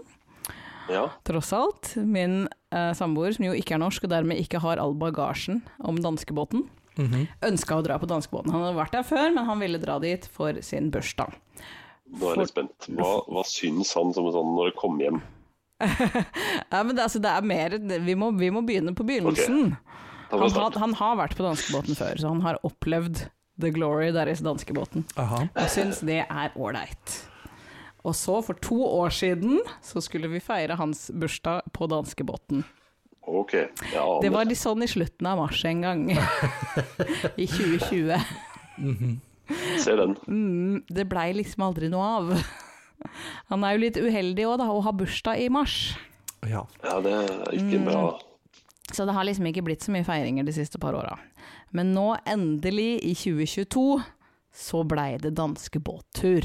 Speaker 2: Ja,
Speaker 3: Tross alt. Min eh, samboer, som jo ikke er norsk og dermed ikke har all bagasjen om danskebåten, Mhm. ønska å dra på danskebåten. Han hadde vært der før, men han ville dra dit for sin bursdag.
Speaker 2: nå er jeg litt spent. Hva, hva syns han som sånn når det kom hjem?
Speaker 3: Ja, men det, altså, det er mer Vi må, vi må begynne på begynnelsen.
Speaker 2: Ta fra
Speaker 3: Han, har-
Speaker 2: start.
Speaker 3: han har vært på danskebåten før, så han har opplevd the glory der is danskebåten.
Speaker 4: Aha.
Speaker 3: og syns det er ålreit. Og så, for to år siden, så skulle vi feire hans bursdag på danskebåten.
Speaker 2: Ok, jeg
Speaker 3: Det
Speaker 2: aner.
Speaker 3: var litt sånn i slutten av mars en [laughs] gang. I 2020.
Speaker 2: Ser den.
Speaker 3: Mm, det blei liksom aldri noe av. Han er jo litt uheldig òg, da, å ha bursdag i mars.
Speaker 4: Ja.
Speaker 3: Mm.
Speaker 2: Ja, det er ikke bra.
Speaker 3: Så det har liksom ikke blitt så mye feiringer de siste par åra. Men nå, endelig, i 2022, så blei det danske båttur.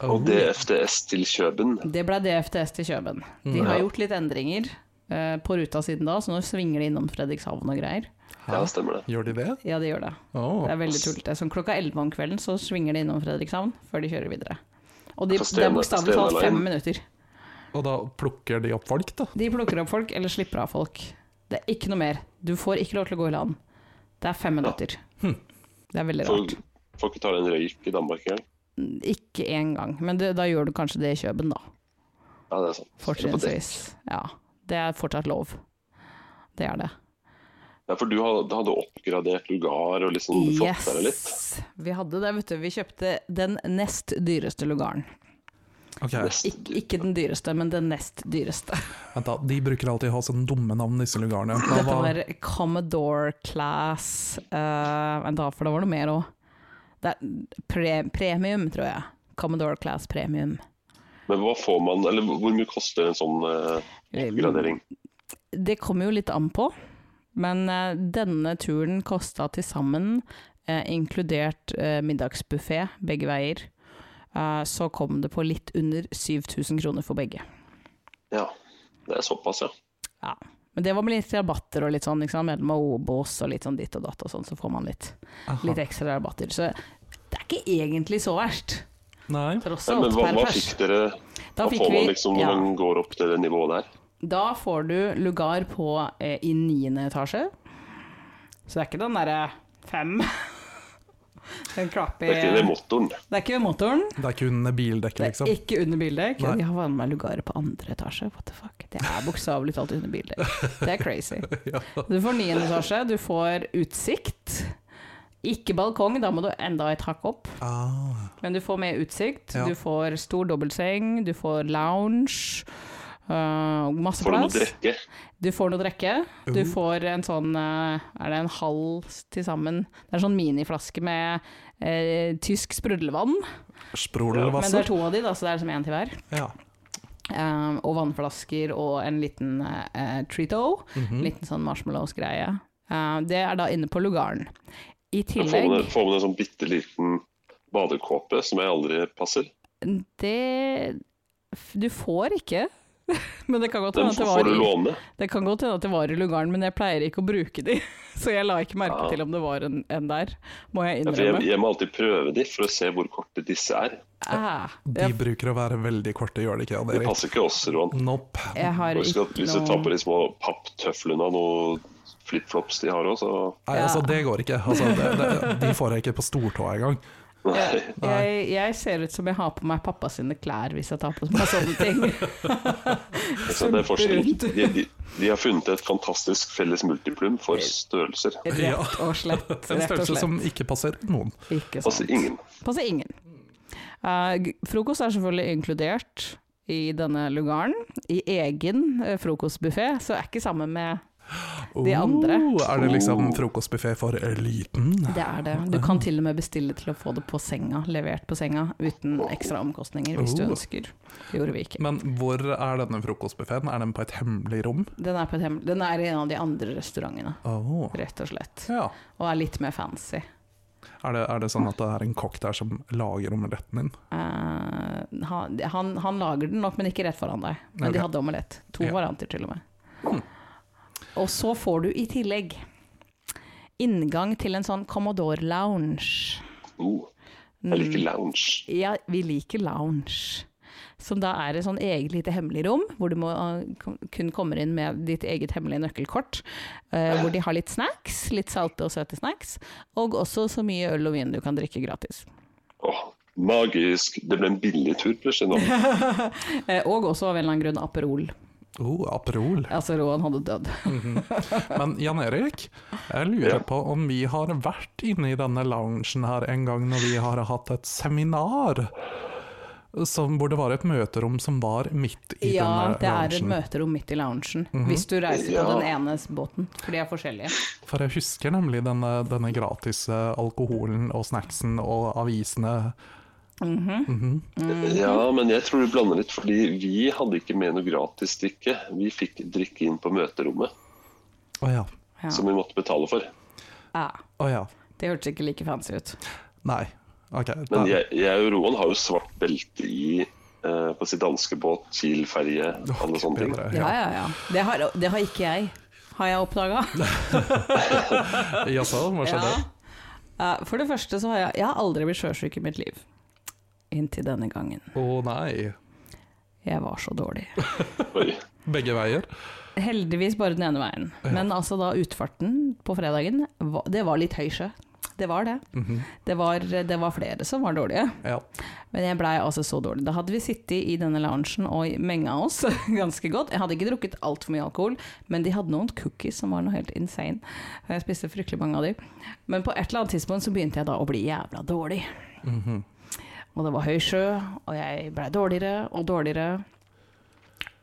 Speaker 2: Og
Speaker 4: Oh,
Speaker 2: DFDS til Kjøben.
Speaker 3: Det blei DFTS til Kjøben. De har gjort litt endringer eh, på ruta siden da, så nå svinger de innom Fredrikshavn og greier.
Speaker 2: Ja, stemmer det.
Speaker 4: Gjør de det?
Speaker 3: Ja, det gjør det.
Speaker 4: Åh.
Speaker 3: Det er veldig tullete. Sånn klokka 11 om kvelden så svinger de innom Fredrikshavn før de kjører videre. Og de,
Speaker 2: For
Speaker 3: det er
Speaker 2: Stena-
Speaker 3: bokstavelig talt
Speaker 2: Stena
Speaker 3: fem
Speaker 2: Line.
Speaker 3: minutter.
Speaker 4: Og da plukker de opp folk, da?
Speaker 3: De plukker opp folk eller slipper av folk. Det er ikke noe mer. Du får ikke lov til å gå i land. Det er fem minutter. Det er veldig
Speaker 2: Får
Speaker 3: rart.
Speaker 2: får ikke ta deg en røyk i Danmark engang.
Speaker 3: Ikke én gang, men det, da gjør du kanskje det i Kjøben, da.
Speaker 2: Ja, det er sant.
Speaker 3: Fortrinnsvis. Ja. Det er fortsatt lov. Det er det.
Speaker 2: Ja, for du hadde, hadde oppgradert lugar og liksom fått deg litt.
Speaker 3: Yes! Vi hadde det, vet du. Vi kjøpte den nest dyreste lugaren.
Speaker 4: Ok,
Speaker 3: Ik ikke den dyreste, men den nest dyreste.
Speaker 4: vent da, De bruker alltid å ha sånne dumme navn, disse lugarene. Hva
Speaker 3: Dette
Speaker 4: var-
Speaker 3: var Commodore Class eh, Vent da, for det var noe mer òg. Pre premium, tror jeg. Commodore Class Premium.
Speaker 2: Men hva får man, eller hvor mye koster en sånn eh, oppgradering?
Speaker 3: Det kommer jo litt an på, men eh, denne turen kosta til sammen, eh, inkludert uh, middagsbuffé begge veier, eh, så kom det på litt under 7000 kroner for begge.
Speaker 2: Ja, det er såpass, ja.
Speaker 3: Ja. Men det var med litt rabatter og litt sånn, ikke sant? medlem av Obos og litt sånn ditt og datt og sånn, så får man litt, litt ekstra rabatter. Så det er ikke egentlig så verst,
Speaker 4: Nei.
Speaker 3: tross
Speaker 2: Nei,
Speaker 3: alt.
Speaker 2: men hva,
Speaker 3: per
Speaker 2: hva
Speaker 3: pers.
Speaker 2: fikk dere
Speaker 3: Da
Speaker 2: Hva
Speaker 3: fikk
Speaker 2: får man
Speaker 3: vi-
Speaker 2: liksom når
Speaker 3: ja.
Speaker 2: man går opp til det nivået der?
Speaker 3: Da får du lugar på eh, i niende etasje. Så det er ikke den derre fem [laughs] Den klapper
Speaker 2: Det er
Speaker 3: Eh,
Speaker 2: ikke det motoren.
Speaker 3: Det er ikke ved motoren,
Speaker 4: Det er ikke under bildekket,
Speaker 3: det er
Speaker 4: liksom.
Speaker 3: ikke under bildekk.
Speaker 4: Nei.
Speaker 3: De har vanlig meg lugarer på andre etasje, what the fuck. Det er bokstavelig talt under bildekk. Det er
Speaker 4: [laughs]
Speaker 3: crazy. Du får niende etasje, du får utsikt. Ikke balkong, da må du enda et hakk opp.
Speaker 4: Ah,
Speaker 3: Men du får mer utsikt,
Speaker 4: Ja.
Speaker 3: du får stor dobbeltseng, du får lounge. øh, masse
Speaker 2: Får du noe
Speaker 3: plass.
Speaker 2: drikke?
Speaker 3: Du får noe drikke. Du
Speaker 4: Uh-huh.
Speaker 3: får en sånn eh, Er det en halv til sammen? Det er en sånn miniflaske med eh, tysk sprudlevann. Men det
Speaker 4: Sprudelvasser.
Speaker 3: er to av de, da, så det er liksom én til hver.
Speaker 4: Ja.
Speaker 3: Eh, og vannflasker og en liten eh, Treato.
Speaker 2: Mhm.
Speaker 3: Liten sånn marshmallows-greie. Eh, det er da inne på lugaren. I
Speaker 2: Får man,
Speaker 3: tillegg
Speaker 2: får man en sånn bitte liten badekåpe som jeg aldri passer?
Speaker 3: Det f- Du får ikke. [laughs] Men det kan godt
Speaker 2: Den
Speaker 3: hende at det
Speaker 2: får,
Speaker 3: var
Speaker 2: får du
Speaker 3: i-
Speaker 2: låne.
Speaker 3: Det kan godt hende at det var i lugaren, men jeg pleier ikke å bruke de. [laughs] Så jeg la ikke merke
Speaker 2: Ja.
Speaker 3: til om det var en, en der, må jeg
Speaker 2: Ja, for jeg,
Speaker 3: innrømme.
Speaker 2: jeg må alltid prøve de for å se hvor korte disse er.
Speaker 3: Ah,
Speaker 4: De
Speaker 3: jeg,
Speaker 4: bruker å være veldig korte, gjør de ikke? Jan
Speaker 2: De
Speaker 4: Erik?
Speaker 2: passer ikke oss, Roan.
Speaker 4: Nope.
Speaker 3: jeg har
Speaker 2: Husk at
Speaker 3: ikke
Speaker 2: Hvis du tar på
Speaker 3: noe
Speaker 2: de små papptøflene og noen flipflops de har òg, så
Speaker 4: Nei, altså, det går ikke. Altså, det, det, de får jeg ikke på stortåa engang.
Speaker 2: [laughs] Nei.
Speaker 3: jeg, jeg ser ut som jeg har på meg pappa sine klær hvis jeg tar på meg sånne ting.
Speaker 2: Så det er forskjellen.
Speaker 3: Rundt.
Speaker 2: De, de, de har funnet et fantastisk felles multiplum for størrelser.
Speaker 4: [laughs] Ja.
Speaker 3: Rett og slett.
Speaker 4: En
Speaker 3: Rett og
Speaker 4: størrelse
Speaker 3: slett.
Speaker 4: som ikke passer noen.
Speaker 3: Ikke sant.
Speaker 2: Altså ingen.
Speaker 3: Passer ingen. Eh, g- frokost er selvfølgelig inkludert i denne lugaren. I egen uh, frokostbuffé, så er ikke sammen med de andre.
Speaker 4: Oh, er det liksom frokostbuffé for eliten?
Speaker 3: Det er det. Du kan til og med bestille til å få det på senga, levert på senga, uten ekstra omkostninger hvis du
Speaker 4: Oh.
Speaker 3: ønsker. Det gjorde vi ikke.
Speaker 4: Men hvor er denne frokostbuffeen? Er den på et hemmelig rom?
Speaker 3: Den er, på et hemmel- den er i en av de andre restaurantene,
Speaker 4: Åh,
Speaker 3: rett og slett.
Speaker 4: Oh, Ja.
Speaker 3: Og er litt mer fancy.
Speaker 4: Er det, er det sånn at det er en kokk der som lager omeletten din?
Speaker 3: Eh, han, han, han lager den nok, men ikke rett foran deg. Men
Speaker 4: Ok.
Speaker 3: de hadde omelett. To
Speaker 4: Ja.
Speaker 3: varianter, til og med. Og så får du i tillegg inngang til en sånn Commodore lounge.
Speaker 2: Oh, jeg liker
Speaker 3: Mm.
Speaker 2: lounge.
Speaker 3: Ja, vi liker lounge. Som da er et sånn eget lite hemmelig rom, hvor du må, eh, kom- kun kommer inn med ditt eget hemmelige nøkkelkort. eh, hvor de har litt snacks, litt salte og søte snacks, og også så mye øl og vin du kan drikke gratis.
Speaker 2: Åh, magisk. Det ble en billig tur plutselig
Speaker 3: [laughs]
Speaker 2: nå.
Speaker 3: Eh, og også av en eller annen grunn Aperol.
Speaker 4: Oh, Aperol.
Speaker 3: Altså, Roan hadde dødd.
Speaker 4: Men Jan Erik, jeg lurer på om vi har vært inne i denne loungen her en gang når vi har hatt et seminar? Som, hvor det var et møterom som var midt i
Speaker 3: Ja,
Speaker 4: denne
Speaker 3: det er et
Speaker 4: eh, loungen.
Speaker 3: møterom midt i loungen, hvis du reiser på
Speaker 2: Ja.
Speaker 3: den ene båten, for de er forskjellige.
Speaker 4: For jeg husker nemlig denne, denne gratis eh, alkoholen og snacksen og avisene.
Speaker 3: Mm.
Speaker 2: Ja, men jeg tror du blander litt, fordi vi hadde ikke med noe gratis drikke. Vi fikk drikke inn på møterommet.
Speaker 4: Å ja.
Speaker 3: Ja.
Speaker 2: som vi måtte betale for.
Speaker 3: ja.
Speaker 4: Å ja.
Speaker 3: Det hørtes ikke like fancy ut.
Speaker 4: Nei. Ok.
Speaker 2: Men
Speaker 4: da-
Speaker 2: jeg, jeg og Roan har jo svart belte i eh, på sin danske båt, Kiel-ferje, alle sånne ting.
Speaker 4: bedre,
Speaker 3: Ja,
Speaker 4: ja.
Speaker 3: ja, ja. Det har, det har ikke jeg, har jeg oppdaga.
Speaker 4: Jaså, hva skjedde?
Speaker 3: Ja. Eh, For det første så har jeg, jeg har aldri blitt sjøsjuk i mitt liv. Inntil denne gangen.
Speaker 4: Å nei.
Speaker 3: Jeg var så dårlig.
Speaker 2: Oi.
Speaker 4: Begge veier.
Speaker 3: Heldigvis bare den ene veien. Men altså da utfarten på fredagen, va- det var litt høy sjø. Det var det. det, var, det var flere som var dårlige.
Speaker 4: Mhm. Ja.
Speaker 3: Men jeg blei altså så dårlig. Da hadde vi sittet i denne loungen og menga oss [laughs] ganske godt. Jeg hadde ikke drukket altfor mye alkohol, men de hadde noen cookies som var noe helt insane. Og Jeg spiste fryktelig mange av de. Men på et eller annet tidspunkt så begynte jeg da å bli jævla dårlig. Og det var høy sjø, og jeg blei dårligere og dårligere.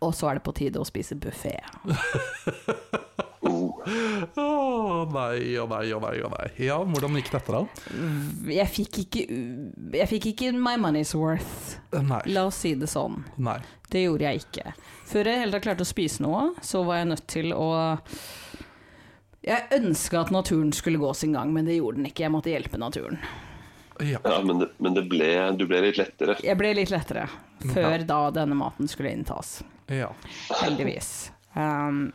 Speaker 3: Og så er det på tide å spise buffé.
Speaker 4: Å nei, å nei, å nei, å nei. Ja, hvordan gikk dette da?
Speaker 3: Jeg fikk ikke, jeg fikk ikke my money's worth,
Speaker 4: Nei.
Speaker 3: la oss si det sånn.
Speaker 4: nei.
Speaker 3: Det gjorde jeg ikke. Før jeg heller klarte å spise noe, så var jeg nødt til å Jeg ønska at naturen skulle gå sin gang, men det gjorde den ikke. Jeg måtte hjelpe naturen.
Speaker 4: Ja.
Speaker 2: Ja, men det, men det ble, du ble litt lettere.
Speaker 3: Jeg ble litt lettere før da denne maten skulle inntas.
Speaker 4: ja.
Speaker 3: Heldigvis. Um,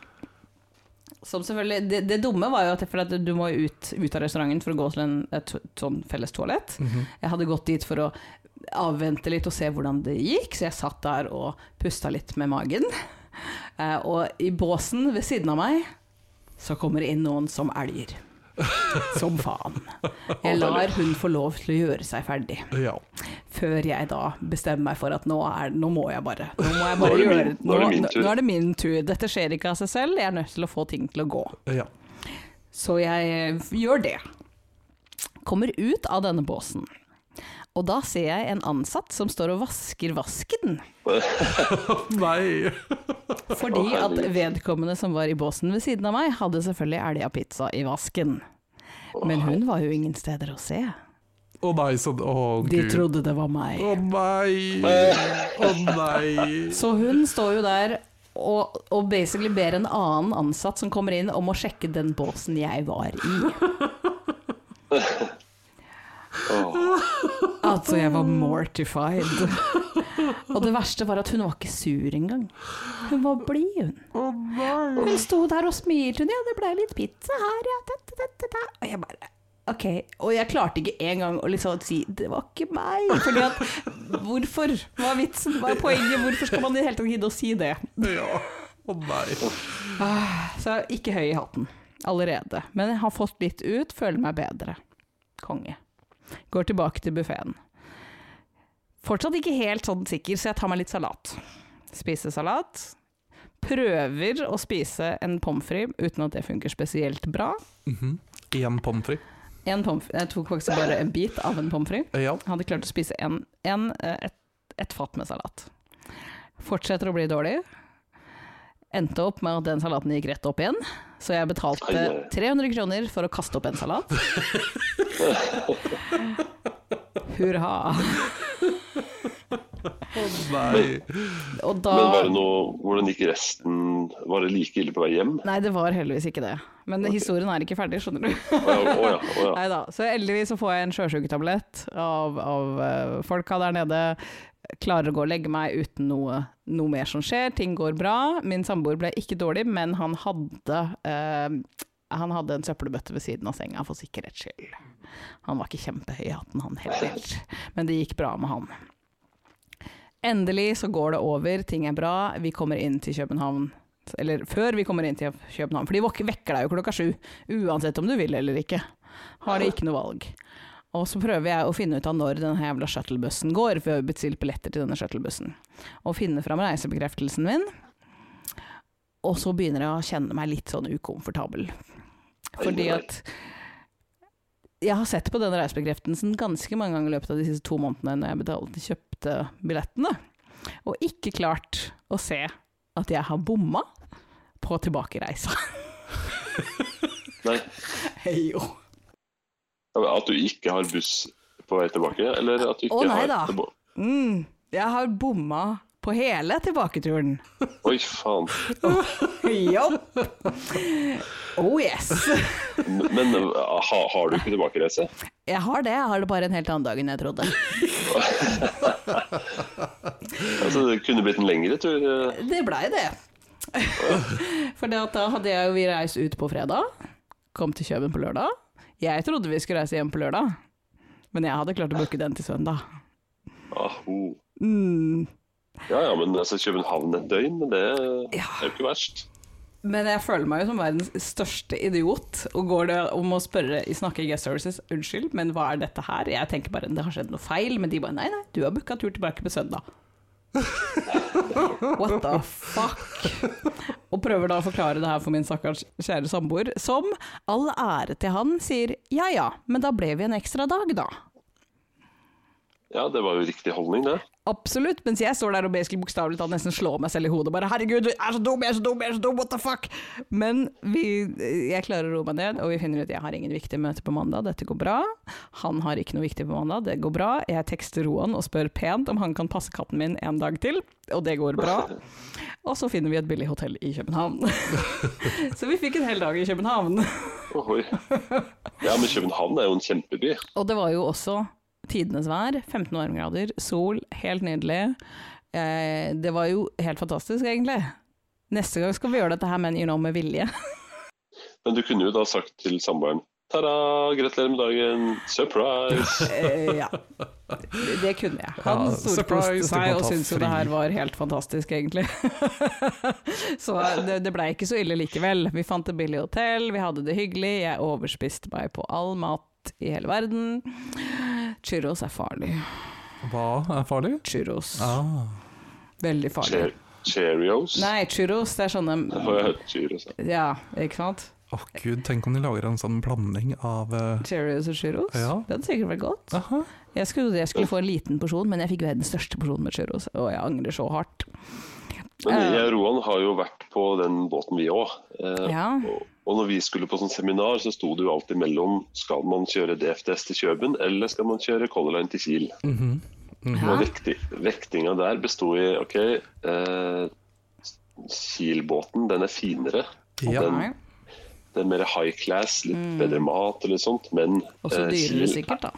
Speaker 3: som selvfølgelig, det, det dumme var jo at, for at du må jo ut, ut av restauranten for å gå til en, et to- sånn felles toalett.
Speaker 4: Mhm.
Speaker 3: Jeg hadde gått dit for å avvente litt og se hvordan det gikk, så jeg satt der og pusta litt med magen. [laughs] Eh, og i båsen ved siden av meg så kommer det inn noen som
Speaker 2: [laughs]
Speaker 3: elger. Som faen. Jeg lar hun få lov til å gjøre seg ferdig
Speaker 4: ja.
Speaker 3: før jeg da bestemmer meg for at nå, er, nå må jeg bare. Nå, må jeg
Speaker 2: Nå er
Speaker 3: bare
Speaker 2: det min-
Speaker 3: gjøre,
Speaker 2: nå er det min
Speaker 3: nå-
Speaker 2: tur.
Speaker 3: Nå er det min tur. Dette skjer ikke av seg selv, jeg er nødt til å få ting til å gå.
Speaker 4: ja.
Speaker 3: Så jeg eh, gjør det. Kommer ut av denne båsen. Og da ser jeg en ansatt som står og vasker vasken.
Speaker 4: Nei.
Speaker 3: Fordi at vedkommende som var i båsen ved siden av meg, hadde selvfølgelig elga pizza i vasken. Men hun var jo ingen steder å se.
Speaker 4: Å nei, så Å
Speaker 3: De
Speaker 4: gud.
Speaker 3: trodde det var meg.
Speaker 4: Å nei. Å nei.
Speaker 3: Så hun står jo der og, og basically ber en annen ansatt som kommer inn om å sjekke den båsen jeg var i. Altså, jeg var mortified. Og det verste var at hun var ikke sur engang. Hun var blid, hun. Hun sto der og smilte. Hun, ja, det ble litt pizza her, ja. Da, da, da, da, da. Og jeg bare OK. Og jeg klarte ikke engang å liksom si 'det var ikke meg'. Fordi at Hvorfor? Hva er vitsen? Hva er poenget? Hvorfor skal man i det hele tatt gidde å si det?
Speaker 4: Ja. Å nei.
Speaker 3: Så ikke høy i hatten allerede. Men jeg har fått litt ut, føler meg bedre. Konge. Går tilbake til buffeen. Fortsatt ikke helt sånn sikker, så jeg tar meg litt salat. Spiser salat. Prøver å spise en pommes frites uten at det funker spesielt bra.
Speaker 4: Én Mhm. pommes frites.
Speaker 3: En pommes frites Jeg tok faktisk bare en bit av en pommes frites.
Speaker 4: Ja.
Speaker 3: Hadde klart å spise en, en, eh, et, et fat med salat. Fortsetter å bli dårlig. Endte opp med at den salaten gikk rett opp igjen, så jeg betalte
Speaker 2: Ai, ai.
Speaker 3: 300 kroner for å kaste opp en salat.
Speaker 2: [laughs]
Speaker 3: Hurra.
Speaker 4: Nei.
Speaker 3: Og
Speaker 2: Men var
Speaker 3: da
Speaker 2: det noe, hvordan gikk resten? Var det like ille på vei hjem?
Speaker 3: Nei, det var heldigvis ikke det. Men historien er ikke ferdig, skjønner du.
Speaker 2: Å ja, å ja, å ja.
Speaker 3: Nei da. Så heldigvis så får jeg en sjøsjuketablett av, av eh, folka der nede. Klarer å gå og legge meg uten noe, noe mer som skjer. Ting går bra. Min samboer ble ikke dårlig, men han hadde eh, han hadde en søppelbøtte ved siden av senga for sikkerhets skyld. Han var ikke kjempehøy i hatten, han heller, men det gikk bra med han. Endelig så går det over, ting er bra, vi kommer inn til København. Eller før vi kommer inn til København, for de våk- vekker deg jo klokka sju. Uansett om du vil eller ikke. Har de ikke noe valg. Og så prøver jeg å finne ut av når denne jævla shuttlebussen går, for jeg har jo bestilt billetter til denne shuttlebussen. Og finne fram reisebekreftelsen min. Og så begynner jeg å kjenne meg litt sånn ukomfortabel. Fordi at jeg har sett på denne reisebekreftelsen ganske mange ganger i løpet av de siste to månedene når jeg betalte kjøpte billettene, og ikke klart å se at jeg har bomma på tilbakereisa.
Speaker 2: Nei.
Speaker 3: Hei, jo.
Speaker 2: At du ikke har buss på vei tilbake? Eller at du ikke
Speaker 3: Å, nei
Speaker 2: har
Speaker 3: da.
Speaker 2: tilba-
Speaker 3: Mm, jeg har bomma på hele tilbaketuren.
Speaker 2: Oi, faen.
Speaker 3: Jopp! Oh yes!
Speaker 2: Men eh, ha, har du ikke tilbakereise?
Speaker 3: Jeg har det, jeg har det bare en helt annen dag enn jeg trodde.
Speaker 2: Altså, det kunne blitt en lengre tur. eh.
Speaker 3: Det blei det. For det at da hadde jeg jo vi reist ut på fredag, kom til Kjøben på lørdag. Jeg trodde vi skulle reise hjem på lørdag, men jeg hadde klart å booke den til søndag.
Speaker 2: Aho.
Speaker 3: Mm.
Speaker 2: ah, Ja ja, men altså, København et døgn, det
Speaker 3: Ja.
Speaker 2: er jo ikke verst.
Speaker 3: Men jeg føler meg jo som verdens største idiot, og går det om å spørre i Snakke i Guest Services, unnskyld, men hva er dette her? Jeg tenker bare det har skjedd noe feil, men de bare nei, nei, du har booka tur tilbake på søndag. What the fuck? Og prøver da å forklare det her for min stakkars kjære samboer, som all ære til han sier ja ja, men da ble vi en ekstra dag, da.
Speaker 2: Ja, det var jo riktig holdning, det.
Speaker 3: Absolutt, mens jeg står der og basically bokstavelig talt nesten slår meg selv i hodet. Bare 'herregud, jeg er så dum, jeg er så dum, jeg er så dum, what the fuck'? Men vi, jeg klarer å roe meg ned, og vi finner ut jeg har ingen viktige møter på mandag, dette går bra. Han har ikke noe viktig på mandag, det går bra. Jeg tekster Roan og spør pent om han kan passe katten min en dag til, og det går bra. Og så finner vi et billig hotell i København. [laughs] så vi fikk en hel dag i København.
Speaker 2: Ohoi. Ja, men København er jo en kjempeby.
Speaker 3: Og det var jo også tidenes vær. 15 varmegrader, sol, helt nydelig. Eh, det var jo helt fantastisk, egentlig. Neste gang skal vi gjøre dette her, men you know, med [laughs] vilje.
Speaker 2: Men du kunne jo da sagt til samboeren Ta-da, gratulerer med dagen,
Speaker 3: [laughs]
Speaker 2: surprise!
Speaker 3: Eh, ja. Det kunne jeg. Han
Speaker 4: Ja,
Speaker 3: storkoste
Speaker 4: surprise, du
Speaker 3: seg
Speaker 4: kan
Speaker 3: og
Speaker 4: ta
Speaker 3: syntes jo
Speaker 4: fri.
Speaker 3: det her var helt fantastisk, egentlig. [laughs] så eh, det, det blei ikke så ille likevel. Vi fant et billig hotell, vi hadde det hyggelig, jeg overspiste meg på all mat i hele verden. Churros er farlig.
Speaker 4: Hva er farlig?
Speaker 3: Churros.
Speaker 4: Ah.
Speaker 3: Veldig farlig.
Speaker 2: Che- Cheerios.
Speaker 3: Nei, churros, det er sånne
Speaker 2: Åh, jeg hørte Cheerios, ja.
Speaker 3: Ja, ikke sant?
Speaker 4: Å gud, tenk om de lager en sånn blanding av eh,
Speaker 3: Cheerios og churros.
Speaker 4: Ja.
Speaker 3: Det hadde sikkert vært godt.
Speaker 4: Aha.
Speaker 3: Jeg skulle, jeg skulle få en liten porsjon, men jeg fikk verdens største porsjon med churros, og jeg angrer så hardt.
Speaker 2: Men jeg og Roan har jo vært på den båten vi òg. Eh,
Speaker 3: Ja.
Speaker 2: og- Og når vi skulle på sånn seminar, så sto det jo alltid mellom skal man kjøre DFDS til Kjøben, eller skal man kjøre Color Line til Kiel. Og
Speaker 3: Hæ?
Speaker 2: vekti, vektinga der besto i OK, eh, Kiel-båten den er finere.
Speaker 4: Ja.
Speaker 3: Nei.
Speaker 2: Det er mer high class, litt bedre mat eller sånt, men
Speaker 3: Mm. Også
Speaker 2: eh,
Speaker 3: dyrere
Speaker 2: Kiel-
Speaker 3: sikkert, da.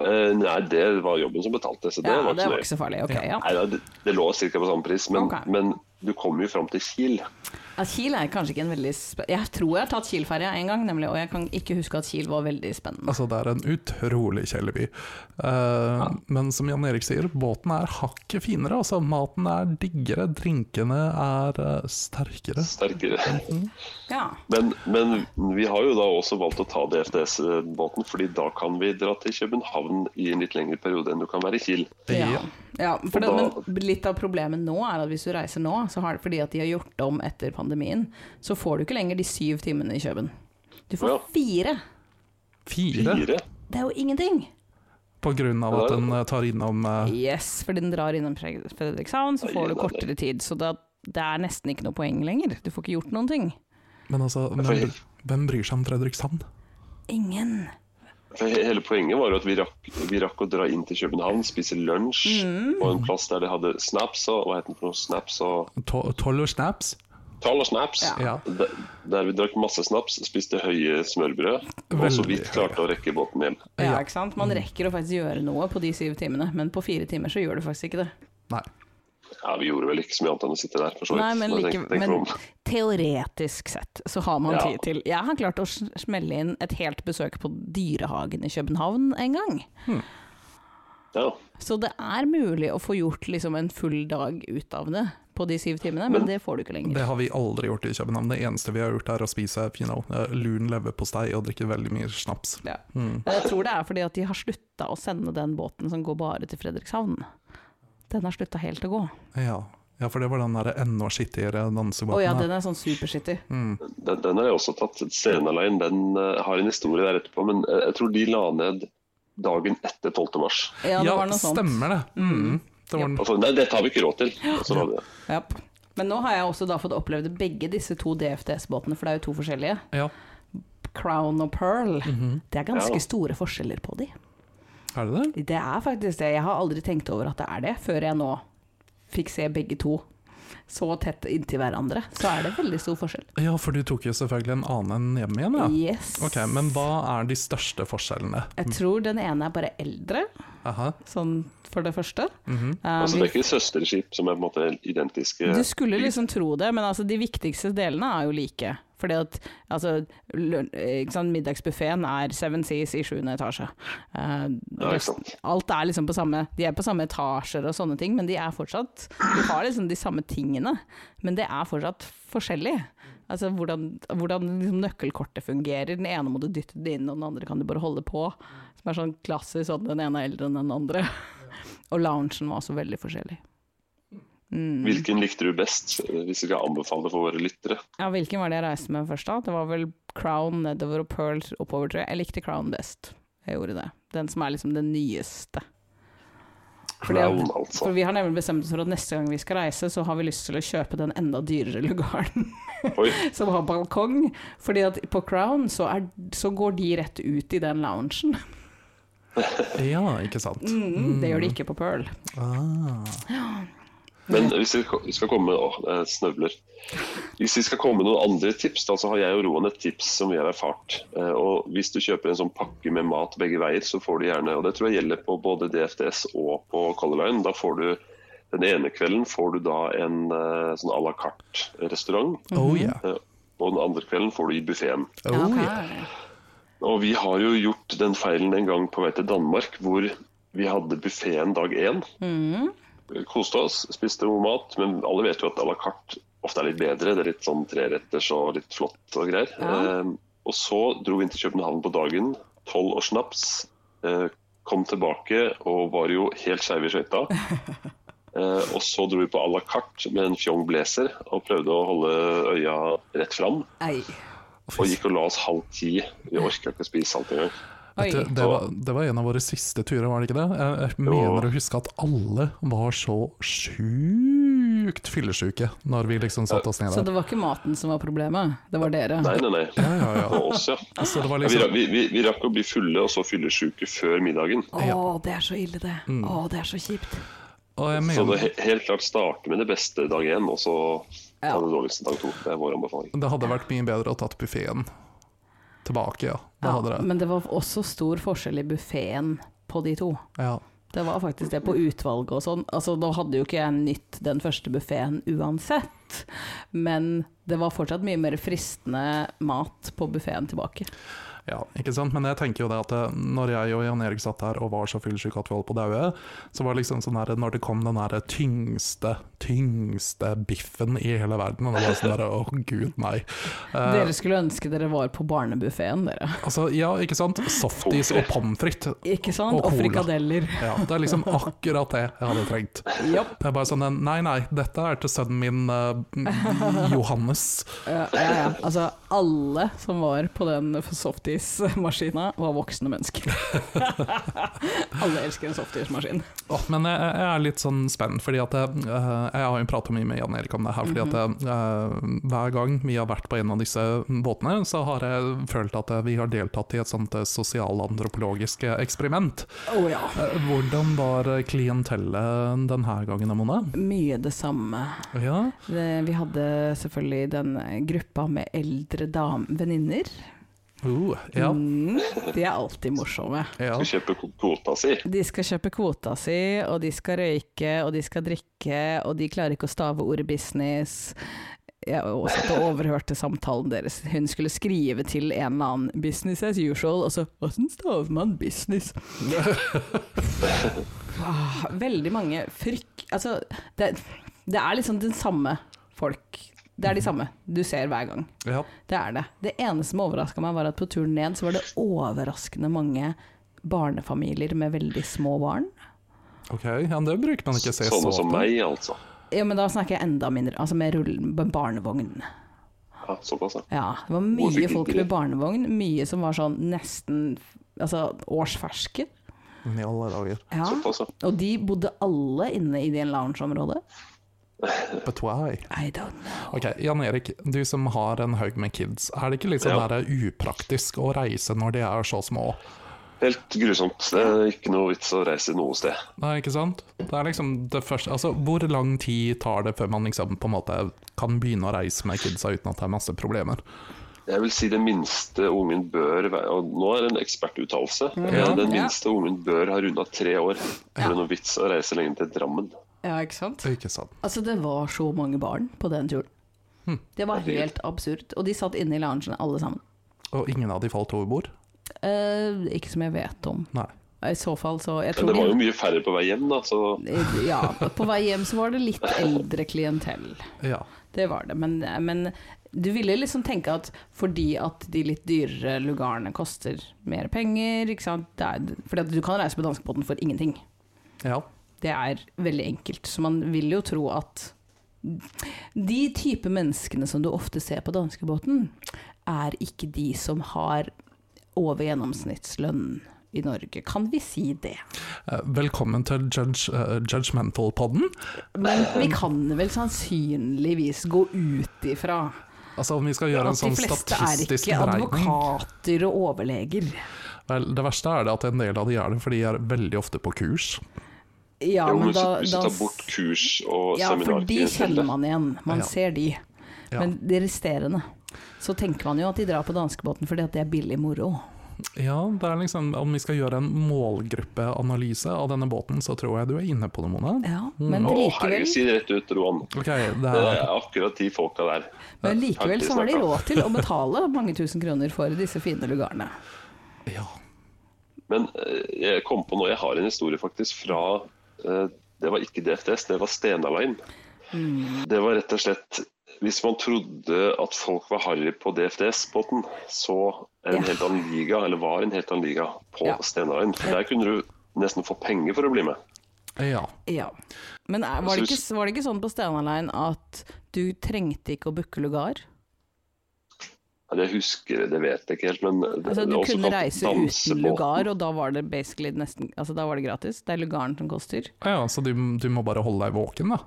Speaker 2: Eh, Nei, det var jobben som betalte, så det
Speaker 3: Ja,
Speaker 2: var
Speaker 3: det
Speaker 2: ikke nøye.
Speaker 3: var ikke så farlig. Ok, ja.
Speaker 2: Nei, da, det, det lå ca. på samme pris, men,
Speaker 3: Ok.
Speaker 2: men du kommer jo fram til Kiel.
Speaker 3: At Kiel er kanskje ikke en veldig spe Jeg tror jeg har tatt Kiel-ferja en gang, nemlig, og jeg kan ikke huske at Kiel var veldig spennende.
Speaker 4: Altså, det er en utrolig kjedelig by. Eh, Men som Jan Erik sier, båten er hakket finere. Altså, maten er diggere, drinkene er eh, sterkere.
Speaker 2: Sterkere.
Speaker 3: Ja.
Speaker 2: Men, men vi har jo da også valgt å ta DFDS-båten, fordi da kan vi dra til København i en litt lengre periode enn du kan være i Kiel.
Speaker 3: Ja, ja for
Speaker 2: Og
Speaker 3: det,
Speaker 2: da-
Speaker 3: men litt av problemet nå er at hvis du reiser nå, så har det fordi at de har gjort om etter pandemien, så får du ikke lenger de syv timene i Kjøben. Du får
Speaker 2: Ja.
Speaker 3: fire.
Speaker 4: Fire,
Speaker 2: Fire?
Speaker 3: Det er jo ingenting.
Speaker 4: på grunn av at den eh, tar innom eh,
Speaker 3: Yes, fordi den drar innom Fred- Fredrikshavn, så
Speaker 2: Oi,
Speaker 3: får du
Speaker 2: nei,
Speaker 3: kortere tid. Så da, det er nesten ikke noe poeng lenger. Du får ikke gjort noen ting.
Speaker 4: Men altså, hvem, hvem bryr seg om Fredrikshavn?
Speaker 3: Ingen.
Speaker 2: For he- hele poenget var jo at vi rakk, vi rakk å dra inn til København, spise lunsj
Speaker 3: Mm.
Speaker 2: på en plass der de hadde snaps og hva heter det for noe, snaps og
Speaker 4: To- Tolv og snaps?
Speaker 2: Tall og snaps.
Speaker 4: Ja.
Speaker 2: Der, der vi drakk masse snaps, spiste høye smørbrød, og så
Speaker 4: Veldig
Speaker 2: vidt klarte å rekke båten hjem.
Speaker 3: Ja,
Speaker 4: Ja.
Speaker 3: ikke sant? Man
Speaker 2: Mm.
Speaker 3: rekker å faktisk gjøre noe på de syv timene, men på fire timer så gjør du faktisk ikke det.
Speaker 4: Nei.
Speaker 2: Ja, vi gjorde vel ikke så mye annet enn å sitte der, for så vidt.
Speaker 3: Nei, men,
Speaker 2: når jeg
Speaker 3: like,
Speaker 2: tenker- tenker
Speaker 3: men
Speaker 2: meg [laughs] om.
Speaker 3: teoretisk sett så har man
Speaker 2: Ja.
Speaker 3: tid til. Jeg har klart å sm- smelle inn et helt besøk på Dyrehagen i København en gang.
Speaker 2: Ja.
Speaker 3: Så det er mulig å få gjort liksom en full dag ut av det på de syv timene, men det får du ikke lenger.
Speaker 4: Det har vi aldri gjort i København. Det eneste vi har gjort, er å spise you know, eh, lun leverpostei og drikke veldig mye snaps.
Speaker 3: Ja.
Speaker 4: Mm.
Speaker 3: Men Jeg tror det er fordi at de har slutta å sende den båten som går bare til Fredrikshavn. Den har slutta helt å gå.
Speaker 4: Ja. ja, for det var den der enda skittigere
Speaker 3: Å
Speaker 4: dansebåten.
Speaker 3: ja,
Speaker 4: her.
Speaker 3: den er sånn supershitty.
Speaker 4: Mm.
Speaker 2: Den, den har jeg også tatt. Scenaline den eh, har en historie der etterpå, men eh, jeg tror de la ned dagen etter 12. mars.
Speaker 3: Ja, det var noe sånt.
Speaker 4: stemmer det. Mm. Det var den.
Speaker 2: Altså, nei, dette har vi ikke råd til. Altså, Og så la de det.
Speaker 3: Japp. Men nå har jeg også da fått opplevd begge disse to DFDS-båtene, for det er jo to forskjellige.
Speaker 4: Ja,
Speaker 3: Crown og Pearl.
Speaker 4: Mhm.
Speaker 3: Det er ganske
Speaker 2: Ja.
Speaker 3: store forskjeller på de.
Speaker 4: er det det?
Speaker 3: Det er faktisk det. Jeg har aldri tenkt over at det er det, før jeg nå fikk se begge to så tett inntil hverandre, så er det veldig stor forskjell.
Speaker 4: Ja, for du tok jo selvfølgelig en annen enn hjem igjen, ja.
Speaker 3: Yes.
Speaker 4: Ok, Men hva er de største forskjellene?
Speaker 3: Jeg tror den ene er bare eldre,
Speaker 4: Aha.
Speaker 3: sånn for det første.
Speaker 4: mhm.
Speaker 3: Eh,
Speaker 2: Altså,
Speaker 3: vi-
Speaker 2: det er ikke søsterskip som er på en måte identiske
Speaker 3: Du skulle liksom tro det, men altså de viktigste delene er jo like. Fordi at altså, lø- ikke sant, middagsbuffeen er Seven Seas i sjuende etasje.
Speaker 2: Ja,
Speaker 3: Eh,
Speaker 2: ikke
Speaker 3: resten-
Speaker 2: sant.
Speaker 3: alt er liksom på samme De er på samme etasjer og sånne ting, men de er fortsatt Du har liksom de samme tingene, men det er fortsatt forskjellig. Altså hvordan, hvordan liksom nøkkelkortet fungerer. Den ene må du dytte det inn, og den andre kan du bare holde på. Som er sånn klassisk sånn den ene er eldre enn den andre. Og loungen var også veldig forskjellig.
Speaker 2: Hvilken likte du best, eh, hvis du skal anbefale for våre lyttere?
Speaker 3: Ja, hvilken var det jeg reiste med først da? Det var vel Crown nedover og Pearl oppover, tror jeg. Jeg likte Crown best. Jeg gjorde det. Den som er liksom den nyeste. For det-
Speaker 2: Crown, altså.
Speaker 3: For vi har nemlig bestemt oss for at neste gang vi skal reise, så har vi lyst til å kjøpe den enda dyrere [laughs] lugaren
Speaker 2: Oi,
Speaker 3: som har balkong. Fordi at på Crown så, er, så går de rett ut i den loungen. [laughs]
Speaker 4: Ja, ikke sant.
Speaker 3: Mm, det gjør de ikke på Pearl.
Speaker 4: Ah.
Speaker 2: Men hvis vi ko- skal komme Å, jeg snøvler. Hvis vi skal komme med noen andre tips, da, så har jeg og Roan et tips som vi har erfart. Eh, Og hvis du kjøper en sånn pakke med mat begge veier, så får du gjerne Og det tror jeg gjelder på både DFDS og på Color Line. Da får du den ene kvelden får du da en eh, sånn à la carte-restaurant.
Speaker 3: Mhm.
Speaker 4: Oh yeah.
Speaker 2: eh, Og den andre kvelden får du i buffeen.
Speaker 4: Oh,
Speaker 3: Ok.
Speaker 4: yeah.
Speaker 2: Og vi har jo gjort den feilen en gang på vei til Danmark, hvor vi hadde buffeen dag én. Koste oss, spiste god mat, men alle vet jo at à la carte ofte er litt bedre. Det er litt sånn treretters og litt flott og greier.
Speaker 3: Ja.
Speaker 2: Eh, og så dro vi inn til København på dagen, tolv og snaps. Eh, kom tilbake og var jo helt skeive i skøyta. Eh, og så dro vi på à la carte med en fjong blazer og prøvde å holde øya rett fram.
Speaker 3: Ei.
Speaker 2: Og gikk og la oss halv ti. Vi orka ikke å spise alt engang.
Speaker 3: Oi.
Speaker 4: Det, det, var, det var en av våre siste turer, var det ikke det? Jeg, jeg mener å huske at alle var så sjukt fyllesyke når vi liksom satte oss ned
Speaker 3: Så
Speaker 4: der.
Speaker 3: det var ikke maten som var problemet, det var dere.
Speaker 2: Nei, nei, nei.
Speaker 4: Ja, ja, ja.
Speaker 2: Og oss, ja.
Speaker 4: Så det var
Speaker 2: Vi,
Speaker 4: liksom
Speaker 2: ra- vi, vi, vi rakk å bli fulle og så fyllesyke før middagen.
Speaker 3: Å, det er så ille det.
Speaker 2: Mm.
Speaker 3: Å, det er så kjipt.
Speaker 4: Og jeg
Speaker 2: Så det
Speaker 4: mener
Speaker 2: he- helt klart starte med det beste dag én, og så ta
Speaker 3: Ja.
Speaker 2: det dårligste dag to. Det er vår anbefaling.
Speaker 4: det hadde vært mye bedre å tatt buffeen tilbake, ja. Det hadde det.
Speaker 3: Men det var også stor forskjell i buffeen på de to.
Speaker 4: Ja.
Speaker 3: Det var faktisk det på utvalget og sånn. Altså, da hadde jo ikke jeg nytt den første buffeen uansett, men det var fortsatt mye mer fristende mat på buffeen tilbake.
Speaker 4: Ja, ikke sant? Men jeg tenker jo det at eh, når jeg og Jan Erik satt her og var så fyllesyke at vi holdt på å daue, så var det liksom sånn her når det kom den her tyngste, tyngste biffen i hele verden, og det var sånn der å gud, nei. Eh,
Speaker 3: Dere skulle ønske dere var på barnebuffeen, dere.
Speaker 4: altså, ja, ikke sant? Softis og pommes frites.
Speaker 3: Ikke sant?
Speaker 4: Og
Speaker 3: Og
Speaker 4: cola.
Speaker 3: frikadeller.
Speaker 4: Ja, det er liksom akkurat det jeg hadde trengt.
Speaker 3: Jopp.
Speaker 4: Det er bare sånn en, Nei, nei, dette er til sønnen min eh, Johannes.
Speaker 3: Ja, ja, ja. Altså, alle som var på den softismaskina, var voksne
Speaker 4: [laughs]
Speaker 3: mennesker. alle elsker en softismaskin.
Speaker 4: Åh, men jeg, jeg er litt sånn spent, fordi at jeg, eh, jeg har jo prata mye med Jan Erik om det her. Fordi at eh, hver gang vi har vært på en av disse eh, båtene, så har jeg følt at eh, vi har deltatt i et sånt eh, sosialantropologisk eh, eksperiment.
Speaker 3: Å ja.
Speaker 4: Eh, Hvordan var eh, klientellet denne gangen, Mona?
Speaker 3: Mye det samme.
Speaker 4: Ja,
Speaker 3: Det, vi hadde selvfølgelig den gruppa med eldre dam- venninner.
Speaker 4: uh, ja,
Speaker 3: Mm, de er alltid morsomme.
Speaker 4: ja.
Speaker 2: Skal kjøpe ko- kvota si.
Speaker 3: De skal kjøpe kvota si, og de skal røyke, og de skal drikke, og de klarer ikke å stave ordet business. Jeg har også satt og overhørte samtalen deres. Hun skulle skrive til en eller annen 'business as usual', og så 'åssen staver man business'? Ah, Veldig mange frykt... Altså, det, det er liksom den samme folk. Det er de samme du ser hver gang.
Speaker 4: ja.
Speaker 3: Det er det. Det eneste som overraska meg, var at på turen ned så var det overraskende mange barnefamilier med veldig små barn.
Speaker 4: Ok, ja, det bruker man ikke se så
Speaker 2: Sånne som
Speaker 4: ofte.
Speaker 2: meg, altså.
Speaker 3: Ja, men da snakker jeg enda mindre, altså med rull, med barnevogn.
Speaker 2: Ja, såpass, ja.
Speaker 3: Ja, det var
Speaker 2: Hvorfor
Speaker 3: mye
Speaker 2: ikke
Speaker 3: folk
Speaker 2: det?
Speaker 3: med barnevogn, mye som var sånn nesten altså årsferske.
Speaker 4: Men i alle dager.
Speaker 3: Ja.
Speaker 2: Såpass, ja.
Speaker 3: Og de bodde alle inne i det loungeområdet.
Speaker 4: But why?
Speaker 3: I don't know.
Speaker 4: Ok, Jan Erik, du som har en haug med kids, er det ikke litt sånn
Speaker 2: Ja.
Speaker 4: der upraktisk å reise når de er så små?
Speaker 2: Helt grusomt. Det er ikke noe vits å reise noe sted.
Speaker 4: Nei, ikke sant? Det er liksom det første Altså, hvor lang tid tar det før man liksom på en måte kan begynne å reise med kidsa uten at det er masse problemer?
Speaker 2: Jeg vil si det minste ungen bør være og Nå er det en ekspertuttalelse.
Speaker 4: Ja.
Speaker 2: Eh, Den
Speaker 3: Mhm. Ja.
Speaker 2: minste ungen bør ha runda tre år. Det er noe vits å reise lenge til Drammen.
Speaker 3: Ja, ikke sant?
Speaker 4: Ikke sant?
Speaker 3: Altså, det var så mange barn på den turen. Hm. Det var helt absurd. Og de satt inne i loungen alle sammen.
Speaker 4: Og ingen av de falt over bord?
Speaker 3: Eh, ikke som jeg vet om.
Speaker 4: Nei.
Speaker 3: I så fall så
Speaker 2: Men
Speaker 3: Jeg tror
Speaker 2: det var jo
Speaker 3: de
Speaker 2: mye færre på vei hjem, da, så
Speaker 3: Ja, på vei hjem så var det litt eldre klientell.
Speaker 4: Ja.
Speaker 3: Det var det, men, men du ville liksom tenke at fordi at de litt dyrere lugarene koster mer penger, ikke sant? Det er, fordi at du kan reise på danskebåten for ingenting.
Speaker 4: ja.
Speaker 3: Det er veldig enkelt, så man vil jo tro at de type menneskene som du ofte ser på danskebåten, er ikke de som har over gjennomsnittslønn i Norge. Kan vi si det?
Speaker 4: Eh, Velkommen til judge, eh, judgmental-podden.
Speaker 3: Men
Speaker 4: Ehm.
Speaker 3: vi kan vel sannsynligvis gå ut ifra
Speaker 4: Altså, om vi skal gjøre en
Speaker 3: At de
Speaker 4: sånn
Speaker 3: fleste er
Speaker 4: statistisk
Speaker 3: ikke
Speaker 4: beregning
Speaker 3: advokater og overleger.
Speaker 4: Vel, Det verste er det at en del av de er det, for de er veldig ofte på kurs.
Speaker 3: Ja,
Speaker 2: jo,
Speaker 3: men
Speaker 2: hvis,
Speaker 3: da,
Speaker 2: hvis du
Speaker 3: da
Speaker 2: tar bort kurs og
Speaker 3: Ja, for de
Speaker 2: seminarklientell,
Speaker 3: kjenner man igjen. Man
Speaker 4: Ja.
Speaker 3: ser de.
Speaker 4: Ja.
Speaker 3: Men de resterende, så tenker man jo at de drar på danskebåten fordi at det er billig moro.
Speaker 4: Ja, det er liksom, Om vi skal gjøre en målgruppeanalyse av denne båten, så tror jeg du er inne på noe, Mona.
Speaker 3: Ja, men
Speaker 2: Å,
Speaker 3: likevel,
Speaker 2: herregud, si det rett ut, Roan.
Speaker 4: Ok, det
Speaker 2: Det
Speaker 4: er
Speaker 2: er akkurat de folka der.
Speaker 3: men likevel så har de
Speaker 2: Takk, vi
Speaker 3: råd til å betale mange tusen kroner for disse fine lugarene.
Speaker 4: Ja.
Speaker 2: Men eh, jeg kom på nå, jeg har en historie faktisk fra eh, Det var ikke DFDS, det var Stena Line.
Speaker 3: Mm.
Speaker 2: Det var rett og slett Hvis man trodde at folk var harry på DFDS-båten, så er det en
Speaker 3: Ja.
Speaker 2: helt annen liga, eller var en helt annen liga, på
Speaker 3: Ja.
Speaker 2: Stena Line. For der kunne du nesten få penger for å bli med.
Speaker 4: ja.
Speaker 3: Ja. Men er, var, det ikke, var det ikke sånn på Stena Line at du trengte ikke å booke lugar?
Speaker 2: Ja, Det husker jeg, det vet jeg ikke helt, men det-
Speaker 3: Altså,
Speaker 2: det
Speaker 3: du
Speaker 2: er også
Speaker 3: kunne
Speaker 2: kalt
Speaker 3: reise uten
Speaker 2: dansebåten.
Speaker 3: lugar, og da var det basically nesten altså, Da var det gratis. Det er lugaren som koster.
Speaker 4: ja så du, du må bare holde deg våken, da.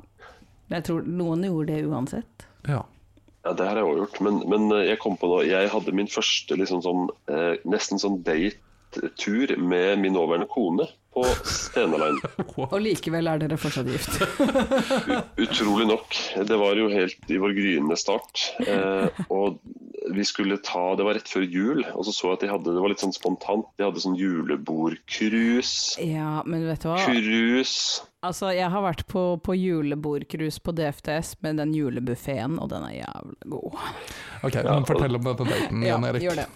Speaker 3: Jeg tror noen gjorde det uansett.
Speaker 4: Ja.
Speaker 2: Ja, det har jeg også gjort, men, men eh, jeg kom på nå, jeg hadde min første liksom sånn, eh, nesten sånn date-tur med min nåværende kone på Stena Line.
Speaker 3: Og likevel er dere fortsatt gift.
Speaker 2: Utrolig nok. Det var jo helt i vår gryende start. Eh, og vi skulle ta, det var rett før jul, og så så jeg at de hadde, det var litt sånn spontant, de hadde sånn julebordcruise.
Speaker 3: [laughs] Ja, men vet du hva?
Speaker 2: Cruise.
Speaker 3: Altså, jeg har vært på, på julebordcruise på DFTS med den julebuffeen, og den er jævlig god.
Speaker 4: Ok, men fortell om denne daten, Jan Erik.
Speaker 3: gjør det.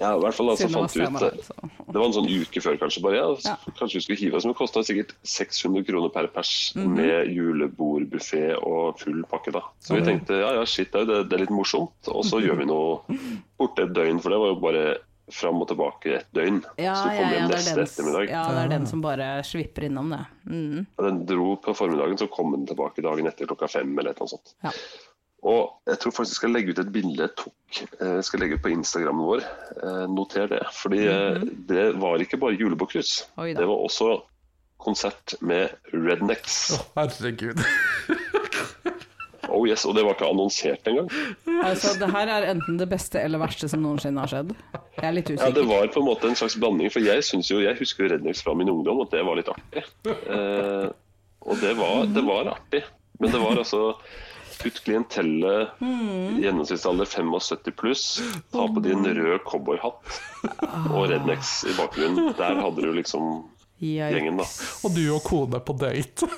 Speaker 2: Ja, i hvert fall da, så
Speaker 3: Siden det var
Speaker 2: fant vi ut
Speaker 3: Stena Line,
Speaker 2: det.
Speaker 3: så.
Speaker 2: Det var en sånn uke før, kanskje. bare, ja,
Speaker 3: Ja.
Speaker 2: Kanskje vi skulle hive oss. Men det kosta sikkert 600 kroner per pers
Speaker 3: Mhm.
Speaker 2: med julebordbuffé og full pakke. da. Så vi
Speaker 3: Sånn,
Speaker 2: tenkte ja, ja, shit, det, er jo- det er litt morsomt. Og så gjør vi noe borte et døgn, for det var jo bare fram og tilbake et døgn.
Speaker 3: Ja,
Speaker 2: så du
Speaker 3: ja,
Speaker 2: kom hjem
Speaker 3: ja, det
Speaker 2: neste
Speaker 3: er den,
Speaker 2: ettermiddag.
Speaker 3: ja, det er den som bare svipper innom det. Mm.
Speaker 2: Og Den dro på formiddagen, så kom den tilbake dagen etter klokka fem eller et eller annet sånt.
Speaker 3: Ja.
Speaker 2: Og jeg tror faktisk jeg skal legge ut et bilde jeg tok. eh, Jeg skal legge ut på Instagrammen vår. Eh, Noter det. Fordi eh, det var ikke bare julebordcruise.
Speaker 3: Mhm. Oi da.
Speaker 2: Det var også konsert med Rednecks.
Speaker 4: Å, herregud.
Speaker 2: Oh yes, Og det var ikke annonsert engang.
Speaker 3: Altså, det her er enten det beste eller verste som noensinne har skjedd. Jeg er litt
Speaker 2: Ja, det
Speaker 3: usikker.
Speaker 2: var på en måte en slags blanding. For jeg synes jo, jeg husker jo Rednecks fra min ungdom, at det var litt artig. Eh, og det var, det var artig. Men det var altså Kutt klientellet, gjennomsnittsalder 75 pluss, ta på din rød cowboyhatt og Rednecks i bakgrunnen. Der hadde du liksom gjengen, da.
Speaker 4: Og du og kone på date.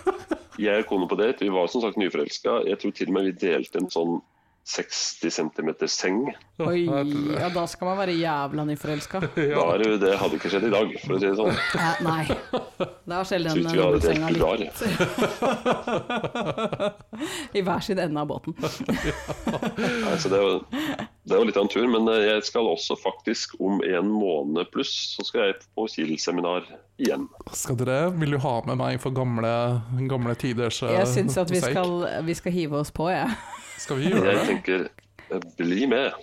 Speaker 2: Jeg og kona på date, vi var som sagt nyforelska. Jeg tror til og med vi delte en sånn 60 cm seng.
Speaker 3: Oi, ja, da skal man være jævla
Speaker 2: [laughs]
Speaker 3: nyforelska.
Speaker 2: Da er det jo- det hadde ikke skjedd i dag, for å si det sånn.
Speaker 3: Eh, Nei. Det er eh,
Speaker 2: Jeg
Speaker 3: sjelden
Speaker 2: synes
Speaker 3: en
Speaker 2: vi hadde et
Speaker 3: dobbeltsenga
Speaker 2: helt
Speaker 3: ligger
Speaker 2: lugar.
Speaker 3: [laughs] i hver sin ende av båten.
Speaker 2: Nei, så det, er jo- det er jo litt av en tur, men eh, jeg skal også faktisk om en måned pluss, så skal jeg på Kiel-seminar igjen.
Speaker 4: Skal dere, vil du ha med meg for gamle, gamle tiders eh,
Speaker 3: Jeg syns at vi
Speaker 4: sake?
Speaker 3: skal, vi skal hive oss på, jeg.
Speaker 4: Skal vi gjøre
Speaker 2: Jeg
Speaker 4: det?
Speaker 2: tenker eh, bli med.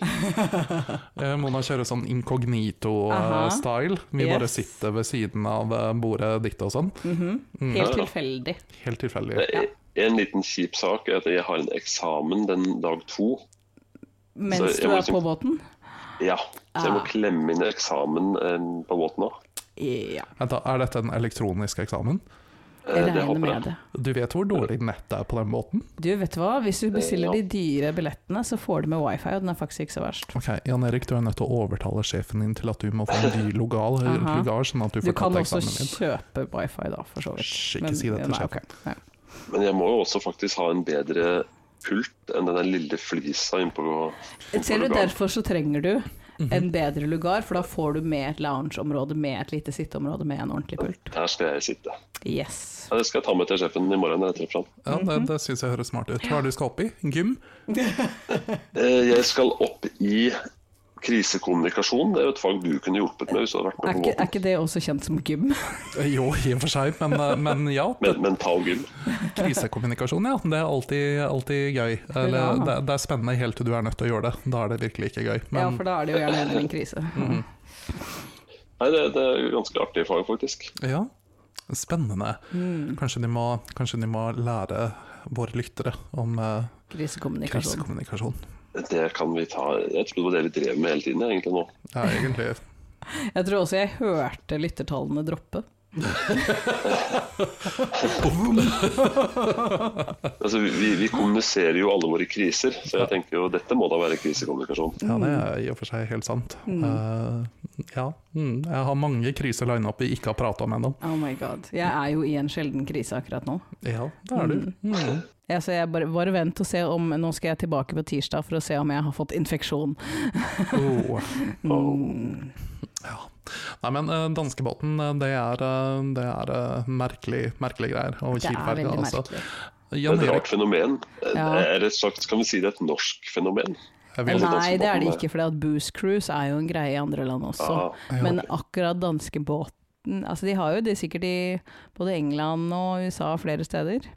Speaker 4: Eh, Mona kjører sånn
Speaker 3: Aha.
Speaker 4: incognito-style. Vi bare
Speaker 3: Yes. Mm.
Speaker 4: sitter ved siden av eh, bordet ditt og sånn.
Speaker 3: Helt
Speaker 2: Mm. Ja, ja.
Speaker 3: tilfeldig.
Speaker 4: Helt tilfeldig.
Speaker 2: Eh, En liten kjip sak er at jeg har en eksamen den dag to.
Speaker 3: Mens
Speaker 2: Så jeg
Speaker 3: du
Speaker 2: må
Speaker 3: er
Speaker 2: liksom-
Speaker 3: på båten?
Speaker 2: Ja, så jeg må
Speaker 3: Ah.
Speaker 2: klemme inn eksamen eh, på båten nå.
Speaker 3: Ja,
Speaker 4: Vent da, Er dette en elektronisk eksamen?
Speaker 2: Eh,
Speaker 3: jeg
Speaker 2: Det
Speaker 3: regner
Speaker 2: håper jeg.
Speaker 3: med det.
Speaker 4: Du vet hvor dårlig nettet er på den båten?
Speaker 3: Du, vet du hva? Hvis du bestiller
Speaker 2: Eh, Ja.
Speaker 3: de dyre billettene, så får du med wifi, og den er faktisk ikke så verst.
Speaker 4: Ok, Jan Erik, du er nødt til å overtale sjefen din til at du må få en dyr logal,
Speaker 3: Aha.
Speaker 4: lugar, sånn at du
Speaker 3: Du
Speaker 4: får
Speaker 3: kan
Speaker 4: tatt
Speaker 3: også
Speaker 4: eksamen din.
Speaker 3: kjøpe wifi da, for så vidt.
Speaker 4: Hysj,
Speaker 3: Men-
Speaker 4: ikke si det til
Speaker 3: nei,
Speaker 4: sjefen.
Speaker 3: ok, nei.
Speaker 2: Men jeg må jo også faktisk ha en bedre pult enn den der lille flisa innpå innpå
Speaker 3: Ser du,
Speaker 2: lugaren.
Speaker 3: derfor så trenger du en bedre lugar, for da får du med et loungeområde, med et lite sitteområde, med en ordentlig pult.
Speaker 2: Her skal jeg sitte.
Speaker 3: Yes.
Speaker 2: Ja, det skal jeg ta med til sjefen i morgen. når jeg treffer han.
Speaker 4: Ja, det,
Speaker 3: Mhm.
Speaker 4: det syns jeg høres smart ut. Hva er det du skal opp i? Gym?
Speaker 2: Eh, Jeg skal opp i krisekommunikasjon. Det er jo et fag du kunne hjulpet med hvis du hadde vært
Speaker 3: Er
Speaker 2: med på
Speaker 3: ikke, er
Speaker 2: båten.
Speaker 3: ikke det også kjent som gym?
Speaker 4: Eh, Jo, i og for seg, men, eh, men ja.
Speaker 2: Men, mental gym.
Speaker 4: Krisekommunikasjon, ja. Det er alltid, alltid gøy.
Speaker 3: Ja.
Speaker 4: Eller, det, det er spennende helt til du er nødt til å gjøre det. Da er det virkelig ikke gøy.
Speaker 3: [laughs] Ja,
Speaker 4: Men
Speaker 3: for da er det jo gjerne heller en krise.
Speaker 2: Nei, det, det er ganske artig fag, faktisk.
Speaker 4: ja, spennende.
Speaker 3: Mm.
Speaker 4: Kanskje, de må, kanskje de må lære våre lyttere om eh,
Speaker 3: Krisekommunikasjon.
Speaker 4: krisekommunikasjon.
Speaker 2: Det kan vi ta Jeg trodde det var det vi drev med hele tiden, jeg, egentlig nå.
Speaker 4: Ja, egentlig.
Speaker 3: Jeg tror også jeg hørte lyttertallene droppe. [laughs]
Speaker 2: Altså, vi, vi kommuniserer jo alle våre kriser, så jeg tenker jo dette må da være krisekommunikasjon.
Speaker 4: Ja, det er i og for seg helt sant.
Speaker 3: Mm.
Speaker 4: Eh, ja. Mm, jeg har mange kriser lina opp vi ikke har prata om ennå.
Speaker 3: Oh my god. Jeg er jo i en sjelden krise akkurat nå.
Speaker 4: Ja, det er du. Mm.
Speaker 3: Ja, så jeg bare, bare vent og se om Nå skal jeg tilbake på tirsdag for å se om jeg har fått infeksjon.
Speaker 4: Oh.
Speaker 3: Mm.
Speaker 4: Nei, men eh, danskebåten, eh, det er, eh, det er eh, merkelig, merkelige greier. Og
Speaker 3: Det er
Speaker 4: Kielferga,
Speaker 3: veldig
Speaker 4: altså.
Speaker 3: merkelig.
Speaker 2: Det er
Speaker 4: Jan
Speaker 2: et
Speaker 4: Erik,
Speaker 2: rart fenomen. Eh,
Speaker 3: Ja.
Speaker 2: Er det et slags, kan vi si det er et norsk fenomen?
Speaker 4: jeg vil,
Speaker 2: Eller
Speaker 3: Nei, det er det
Speaker 2: danskebåten,
Speaker 3: ikke, for det at booze cruise er jo en greie i andre land også.
Speaker 2: Ah,
Speaker 3: Men akkurat danskebåten Altså, de har jo det sikkert i både England og USA og flere steder,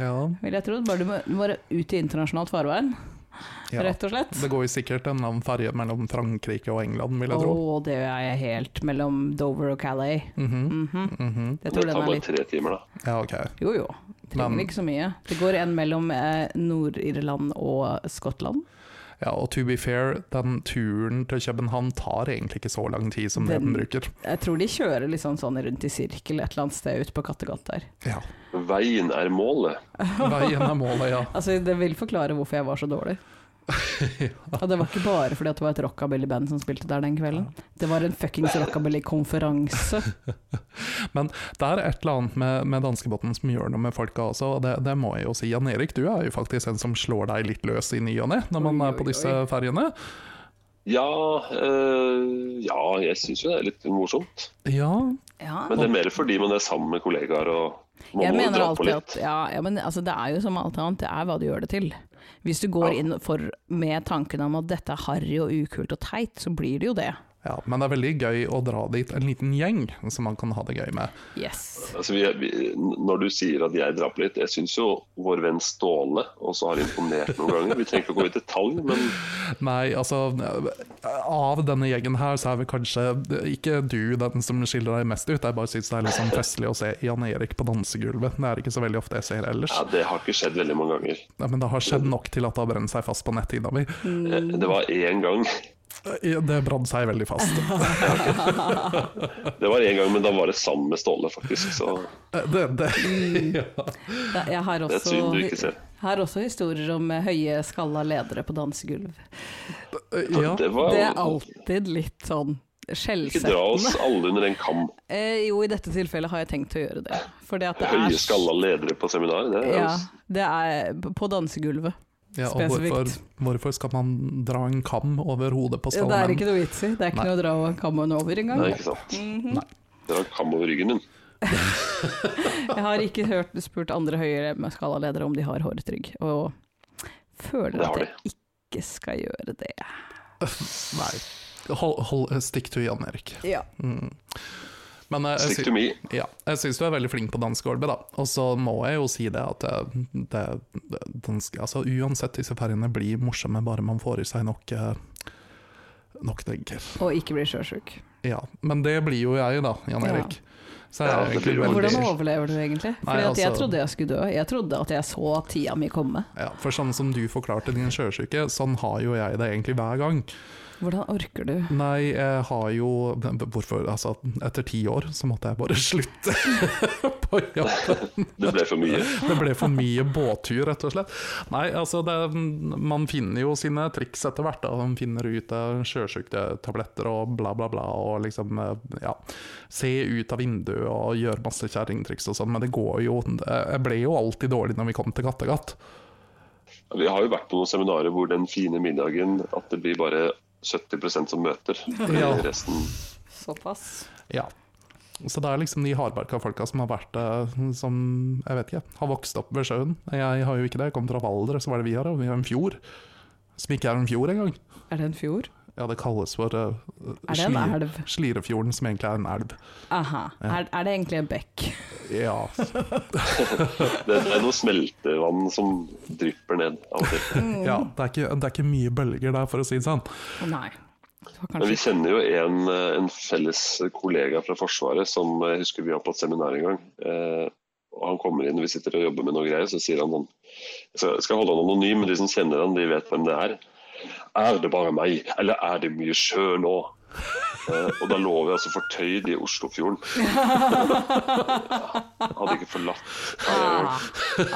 Speaker 4: ja,
Speaker 3: vil jeg tro. Bare du må du må bare ut i internasjonalt farvann,
Speaker 4: ja.
Speaker 3: rett og slett.
Speaker 4: Det går jo sikkert en eller annen ferje mellom Frankrike og England, vil jeg
Speaker 3: Å,
Speaker 4: tro.
Speaker 3: det er jeg helt mellom Dover og Calais.
Speaker 4: Mhm,
Speaker 3: Mhm.
Speaker 4: mhm.
Speaker 3: Jeg
Speaker 2: Ah, det
Speaker 3: tror den
Speaker 2: tar
Speaker 3: er
Speaker 2: bare
Speaker 3: litt
Speaker 2: tre timer, da.
Speaker 4: Ja, ok.
Speaker 3: Jo jo, trenger
Speaker 4: Men-
Speaker 3: ikke så mye. Det går en mellom eh, Nord-Irland og Skottland.
Speaker 4: Ja, og to be fair, den turen til København tar egentlig ikke så lang tid som det
Speaker 3: Den-
Speaker 4: den bruker.
Speaker 3: Jeg tror de kjører litt sånn, sånn rundt i sirkel et eller annet sted ute på Kattegat der.
Speaker 4: Ja.
Speaker 2: Veien er målet.
Speaker 4: [laughs] Veien er målet, ja.
Speaker 3: Altså, det vil forklare hvorfor jeg var så
Speaker 2: [laughs]
Speaker 3: dårlig. Og det var ikke bare fordi at det var et rockabilly-band som spilte der den kvelden. Det var en fuckings rockabilly-konferanse.
Speaker 4: Det er et eller annet med, med danskebåten som gjør noe med folka også, og det, det må jeg jo si. Jan Erik, du er jo faktisk en som slår deg litt løs i ny og ne når man
Speaker 3: Oi,
Speaker 4: er på
Speaker 3: oi,
Speaker 4: disse
Speaker 3: oi.
Speaker 4: ferjene.
Speaker 2: Ja, eh, ja jeg syns jo det er litt morsomt.
Speaker 4: Ja,
Speaker 3: [laughs] Ja.
Speaker 2: Men det er mer fordi man er sammen med kollegaer og man
Speaker 3: Jeg
Speaker 2: må jo
Speaker 3: mener
Speaker 2: dra på
Speaker 3: alltid
Speaker 2: litt.
Speaker 3: at ja, ja, men altså, det er jo som alt annet, det er hva du gjør det til. Hvis du går
Speaker 2: Ja.
Speaker 3: inn for, med tanken om at dette er harry og ukult og teit, så blir det jo det.
Speaker 4: ja, men det er veldig gøy å dra dit en liten gjeng som man kan ha det gøy med.
Speaker 3: Yes.
Speaker 2: Altså, vi, vi, når du sier at jeg drar på litt, jeg syns jo vår venn Ståle også har imponert noen ganger. Vi trenger ikke å gå i detalj, men
Speaker 4: Nei, altså Av denne gjengen her, så er vel kanskje ikke du den som skiller deg mest ut. Jeg bare syns det er litt sånn festlig å se Jan Erik på dansegulvet. Det er ikke så veldig ofte jeg ser ellers.
Speaker 2: ja, det har ikke skjedd veldig mange ganger.
Speaker 4: Nei, men det har skjedd nok til at det har brent seg fast på netthinna mi.
Speaker 2: Eh, Det var én gang. [laughs]
Speaker 4: Det brant seg veldig
Speaker 3: [laughs]
Speaker 4: fast.
Speaker 2: Det var én gang, men da var det sammen med Ståle, faktisk. Så
Speaker 4: Det, det, ja.
Speaker 3: Da- Jeg har
Speaker 2: det er et
Speaker 3: også,
Speaker 2: syn du ikke ser.
Speaker 3: har også historier om eh, høye, skalla ledere på dansegulv.
Speaker 4: ja.
Speaker 2: Det var
Speaker 3: Det er alltid litt sånn
Speaker 2: Ikke dra oss
Speaker 3: skjellsettende.
Speaker 2: alle under en kam.
Speaker 3: Eh, jo, i dette tilfellet har jeg tenkt å gjøre det. Fordi at det er
Speaker 2: Høye skalla ledere på seminar. Det er,
Speaker 3: Ja, det er på dansegulvet.
Speaker 4: Ja, og hvorfor,
Speaker 3: Spesifikt.
Speaker 4: hvorfor skal man dra en kam over hodet på
Speaker 3: Ja, det er
Speaker 4: skallen?
Speaker 3: ikke noe vits i. Det er ikke
Speaker 4: Nei.
Speaker 3: noe å dra kammen over engang. Mhm.
Speaker 2: Nei, ikke sant.
Speaker 4: Nei. [laughs]
Speaker 2: Det var en kam over ryggen min.
Speaker 3: Jeg har ikke hørt, spurt andre høyere skalaledere om de har håret rygg, og føler
Speaker 2: Det har
Speaker 3: at jeg ikke skal gjøre det.
Speaker 4: [laughs] Nei. Hold, hold, stikk til Jan Erik.
Speaker 3: Ja.
Speaker 4: Mm. Men eh, jeg,
Speaker 2: Stick
Speaker 4: sy-
Speaker 2: to me.
Speaker 4: Ja, jeg syns du er veldig flink på dansegulvet, da. Og så må jeg jo si det at eh, det, det, danske, altså, uansett disse feriene blir morsomme bare man får i seg nok eh, Nok drinker.
Speaker 3: Og ikke bli sjøsjuk.
Speaker 4: Ja. Men det blir jo jeg, da, Jan
Speaker 3: Ja.
Speaker 4: Erik. Så jeg
Speaker 2: Ja,
Speaker 4: er
Speaker 2: det
Speaker 4: egentlig
Speaker 2: blir jo
Speaker 4: veldig
Speaker 3: Hvordan overlever du egentlig? Fordi
Speaker 4: Nei,
Speaker 3: at jeg
Speaker 4: altså-
Speaker 3: trodde jeg skulle dø. Jeg trodde at jeg så tida mi komme.
Speaker 4: ja, For sånn som du forklarte din sjøsyke, sånn har jo jeg det egentlig hver gang.
Speaker 3: Hvordan orker du?
Speaker 4: Nei, jeg har jo Hvorfor? Altså, etter ti år så måtte jeg bare [laughs] slutte på jobben.
Speaker 2: Det ble for mye.
Speaker 4: Det ble for mye båttur, rett og slett. Nei, altså, det, man finner jo sine triks etter hvert. Da. Man finner ut av sjøsyktetabletter og bla, bla, bla. Og liksom, ja Se ut av vinduet og gjøre masse kjerringtriks og sånn, men det går jo Jeg ble jo alltid dårlig når vi kom til Kattegat.
Speaker 2: Vi har jo vært på noen seminarer hvor den fine middagen at det blir bare 70 som møter.
Speaker 4: Ja.
Speaker 2: Resten
Speaker 3: Såpass.
Speaker 4: Ja. Så det er liksom de hardbarka folka som har vært eh, som jeg vet ikke, har vokst opp ved sjøen. Jeg har jo ikke det, jeg kom fra Valdres, så hva er det vi har? da? Vi har en fjord. Som ikke er en fjord engang.
Speaker 3: Er det en fjord?
Speaker 4: Ja, det kalles for eh,
Speaker 3: Er det en
Speaker 4: Slir-
Speaker 3: elv?
Speaker 4: Slirefjorden, som egentlig er en elv.
Speaker 3: Aha. Er, er det egentlig en bekk?
Speaker 4: Ja.
Speaker 2: Det, det er noe smeltevann som drypper ned av og til.
Speaker 3: Mm.
Speaker 4: ja det, er ikke, det er ikke mye bølger der, for å si det sånn.
Speaker 3: Å nei. Det var
Speaker 2: Men vi
Speaker 3: kanskje
Speaker 2: kjenner jo en, eh, en felles kollega fra Forsvaret som eh, jeg husker vi var på et seminar en gang. Eh, og Han kommer inn og vi sitter og jobber med noe greier, så sier han sånn Jeg skal- skal holde han anonym, men de som kjenner han, de vet hvem det er. Er det bare meg, eller er det mye sjø nå? Eh, og da lå vi altså fortøyd i Oslofjorden. Hadde ikke forlatt
Speaker 3: ah,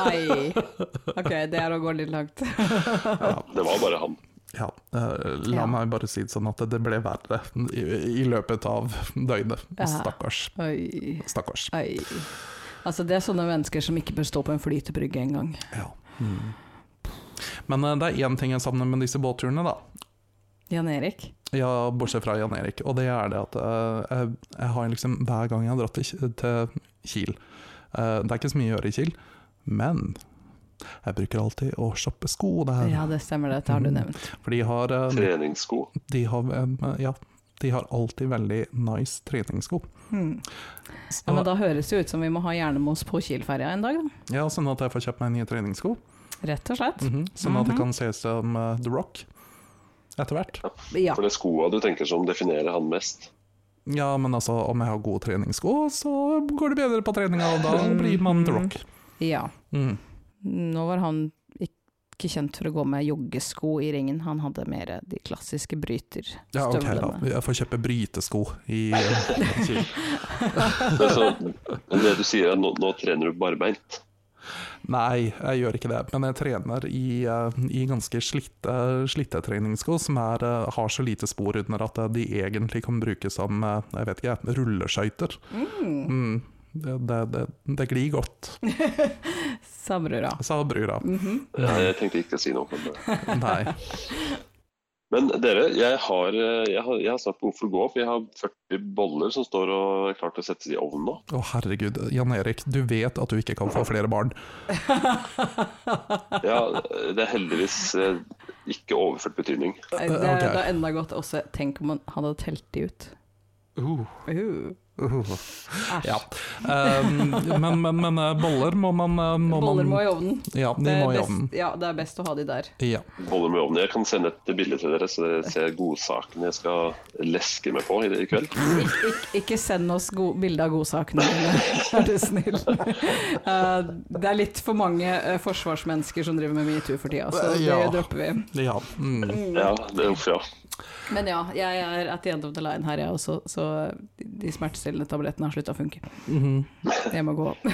Speaker 3: Ai. Ok, det er å gå litt langt.
Speaker 2: Det var bare han.
Speaker 4: Ja, eh, la
Speaker 3: Ja.
Speaker 4: meg bare si det sånn at det ble verre i, i løpet av døgnet.
Speaker 3: Ja.
Speaker 4: Stakkars.
Speaker 3: Oi.
Speaker 4: Stakkars.
Speaker 3: Oi. Altså, det er sånne mennesker som ikke bør stå på en flytebrygge engang.
Speaker 4: Ja. Mm. Men eh, det er én ting jeg savner med disse båtturene, da.
Speaker 3: Jan Erik?
Speaker 4: Ja, bortsett fra Jan Erik. Og det er det at eh, jeg, jeg har liksom Hver gang jeg har dratt til, Ki- til Kiel eh, Det er ikke så mye å gjøre i Kiel, men jeg bruker alltid å shoppe sko der.
Speaker 3: Ja, det stemmer, dette
Speaker 4: Mhm.
Speaker 3: har du nevnt.
Speaker 4: For de har, eh,
Speaker 2: Treningssko.
Speaker 4: de har eh, Ja, de har alltid veldig nice treningssko.
Speaker 3: Hmm.
Speaker 4: Så,
Speaker 3: Ja, men da høres det ut som vi må ha Jernemos på Kiel-ferja en dag, da.
Speaker 4: ja, sånn at jeg får kjøpt meg nye treningssko.
Speaker 3: Rett og
Speaker 2: Mm.
Speaker 3: slett.
Speaker 4: Mhm, Sånn at det kan se ut som eh, The Rock etter hvert.
Speaker 3: Ja.
Speaker 2: For det er skoa du tenker som definerer han mest.
Speaker 4: Ja, men altså, om jeg har gode treningssko, så går det bedre på treninga, og da blir man The Rock.
Speaker 3: ja.
Speaker 4: Mm.
Speaker 3: Nå var han ikke kjent for å gå med joggesko i ringen, han hadde mer de klassiske bryterstøvlene.
Speaker 4: Ja, ok da. Jeg får kjøpe brytesko
Speaker 3: [laughs]
Speaker 4: i eh, Kiel.
Speaker 2: Det, er sånn- men det du sier er nå, nå trener du barbeint.
Speaker 4: Nei, jeg gjør ikke det. Men jeg trener i, eh, i ganske slitte, slitte treningssko som er, eh, har så lite spor under at eh, de egentlig kan brukes som eh, jeg vet ikke, rulleskøyter.
Speaker 3: Hmm.
Speaker 4: Mm. Det, det, det, det glir godt,
Speaker 3: Sabrura.
Speaker 4: sa
Speaker 3: [laughs]
Speaker 4: brura.
Speaker 2: Jeg tenkte ikke å si noe om det.
Speaker 4: Nei.
Speaker 2: Men dere, jeg har, eh, jeg har, jeg har snart behov for å gå opp. Jeg har 40 boller som står og er klar til å settes i ovnen nå.
Speaker 4: Å herregud, Jan Erik, du vet at du ikke kan få flere barn. [laughs]
Speaker 2: Ja, det er heldigvis eh, ikke overført betydning.
Speaker 3: Det er
Speaker 4: Eh, ok.
Speaker 3: da enda godt også. Tenk om han hadde telt de ut. Uh,
Speaker 4: Uh,
Speaker 3: Æsj.
Speaker 4: ja. Um, men, men, men eh, boller må man eh, må
Speaker 3: Boller
Speaker 4: man,
Speaker 3: må i ovnen.
Speaker 4: Ja, de
Speaker 3: Det er
Speaker 4: må i
Speaker 3: best-
Speaker 4: ovnen.
Speaker 3: Ja, det er best å ha de der.
Speaker 4: Ja.
Speaker 2: Boller med ovnen. Jeg kan sende et bilde til dere, så dere ser godsakene jeg skal leske meg på i, i kveld.
Speaker 3: Ik ik ikke send oss go bilde av godsakene [laughs] dine, er du snill. [laughs] Eh, det er litt for mange eh, forsvarsmennesker som driver med metoo for tida, så det
Speaker 4: Eh, Ja.
Speaker 3: dropper vi.
Speaker 4: ja. Mm.
Speaker 2: Ja, det, uff, ja.
Speaker 3: Men ja, jeg er at the end of the line her, jeg også, så de smertestillende tablettene har slutta å funke.
Speaker 4: Mm-hmm.
Speaker 3: Jeg må gå. [laughs]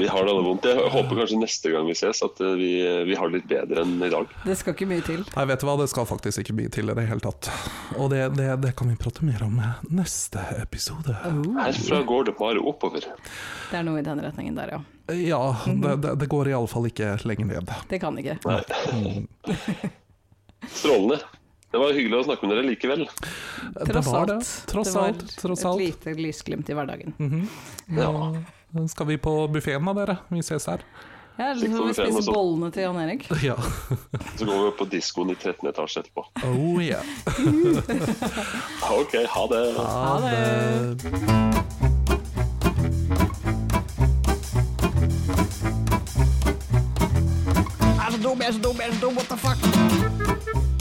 Speaker 2: Vi har det alle vondt. Jeg håper kanskje neste gang vi ses at eh, vi, vi har det litt bedre enn i dag.
Speaker 3: Det skal ikke mye til.
Speaker 4: Nei, vet du hva, det skal faktisk ikke bli til i det hele tatt. Og det, det, det kan vi prate mer om eh, neste episode.
Speaker 3: Mm.
Speaker 2: Herfra går det bare oppover.
Speaker 3: Det er noe i den retningen der, ja.
Speaker 4: Ja,
Speaker 3: Mm.
Speaker 4: det, det, det går iallfall ikke lenger ned.
Speaker 3: Det kan ikke.
Speaker 2: Strålende. Det var hyggelig å snakke med dere likevel.
Speaker 3: Tross
Speaker 4: det var det.
Speaker 3: alt.
Speaker 4: Tross
Speaker 3: Det var
Speaker 4: alt. Tross alt.
Speaker 3: Et
Speaker 4: Mm.
Speaker 3: lite lysglimt i hverdagen.
Speaker 2: Ja.
Speaker 4: Skal vi på buffeen da, dere? Vi ses her.
Speaker 3: Ja, så
Speaker 2: Slik
Speaker 3: får
Speaker 2: får vi
Speaker 3: vi
Speaker 2: se noe
Speaker 3: spise
Speaker 4: altså.
Speaker 2: sånt.
Speaker 3: bollene til Jan Erik.
Speaker 4: Ja.
Speaker 2: Så går vi opp på diskoen i 13. etasje etterpå.
Speaker 4: Oh
Speaker 3: [laughs]
Speaker 4: yeah.
Speaker 2: OK, ha det.
Speaker 4: Ha
Speaker 3: Eh,
Speaker 4: det.
Speaker 5: I'm so dumb, I'm so dumb, I'm so dumb, what the fuck?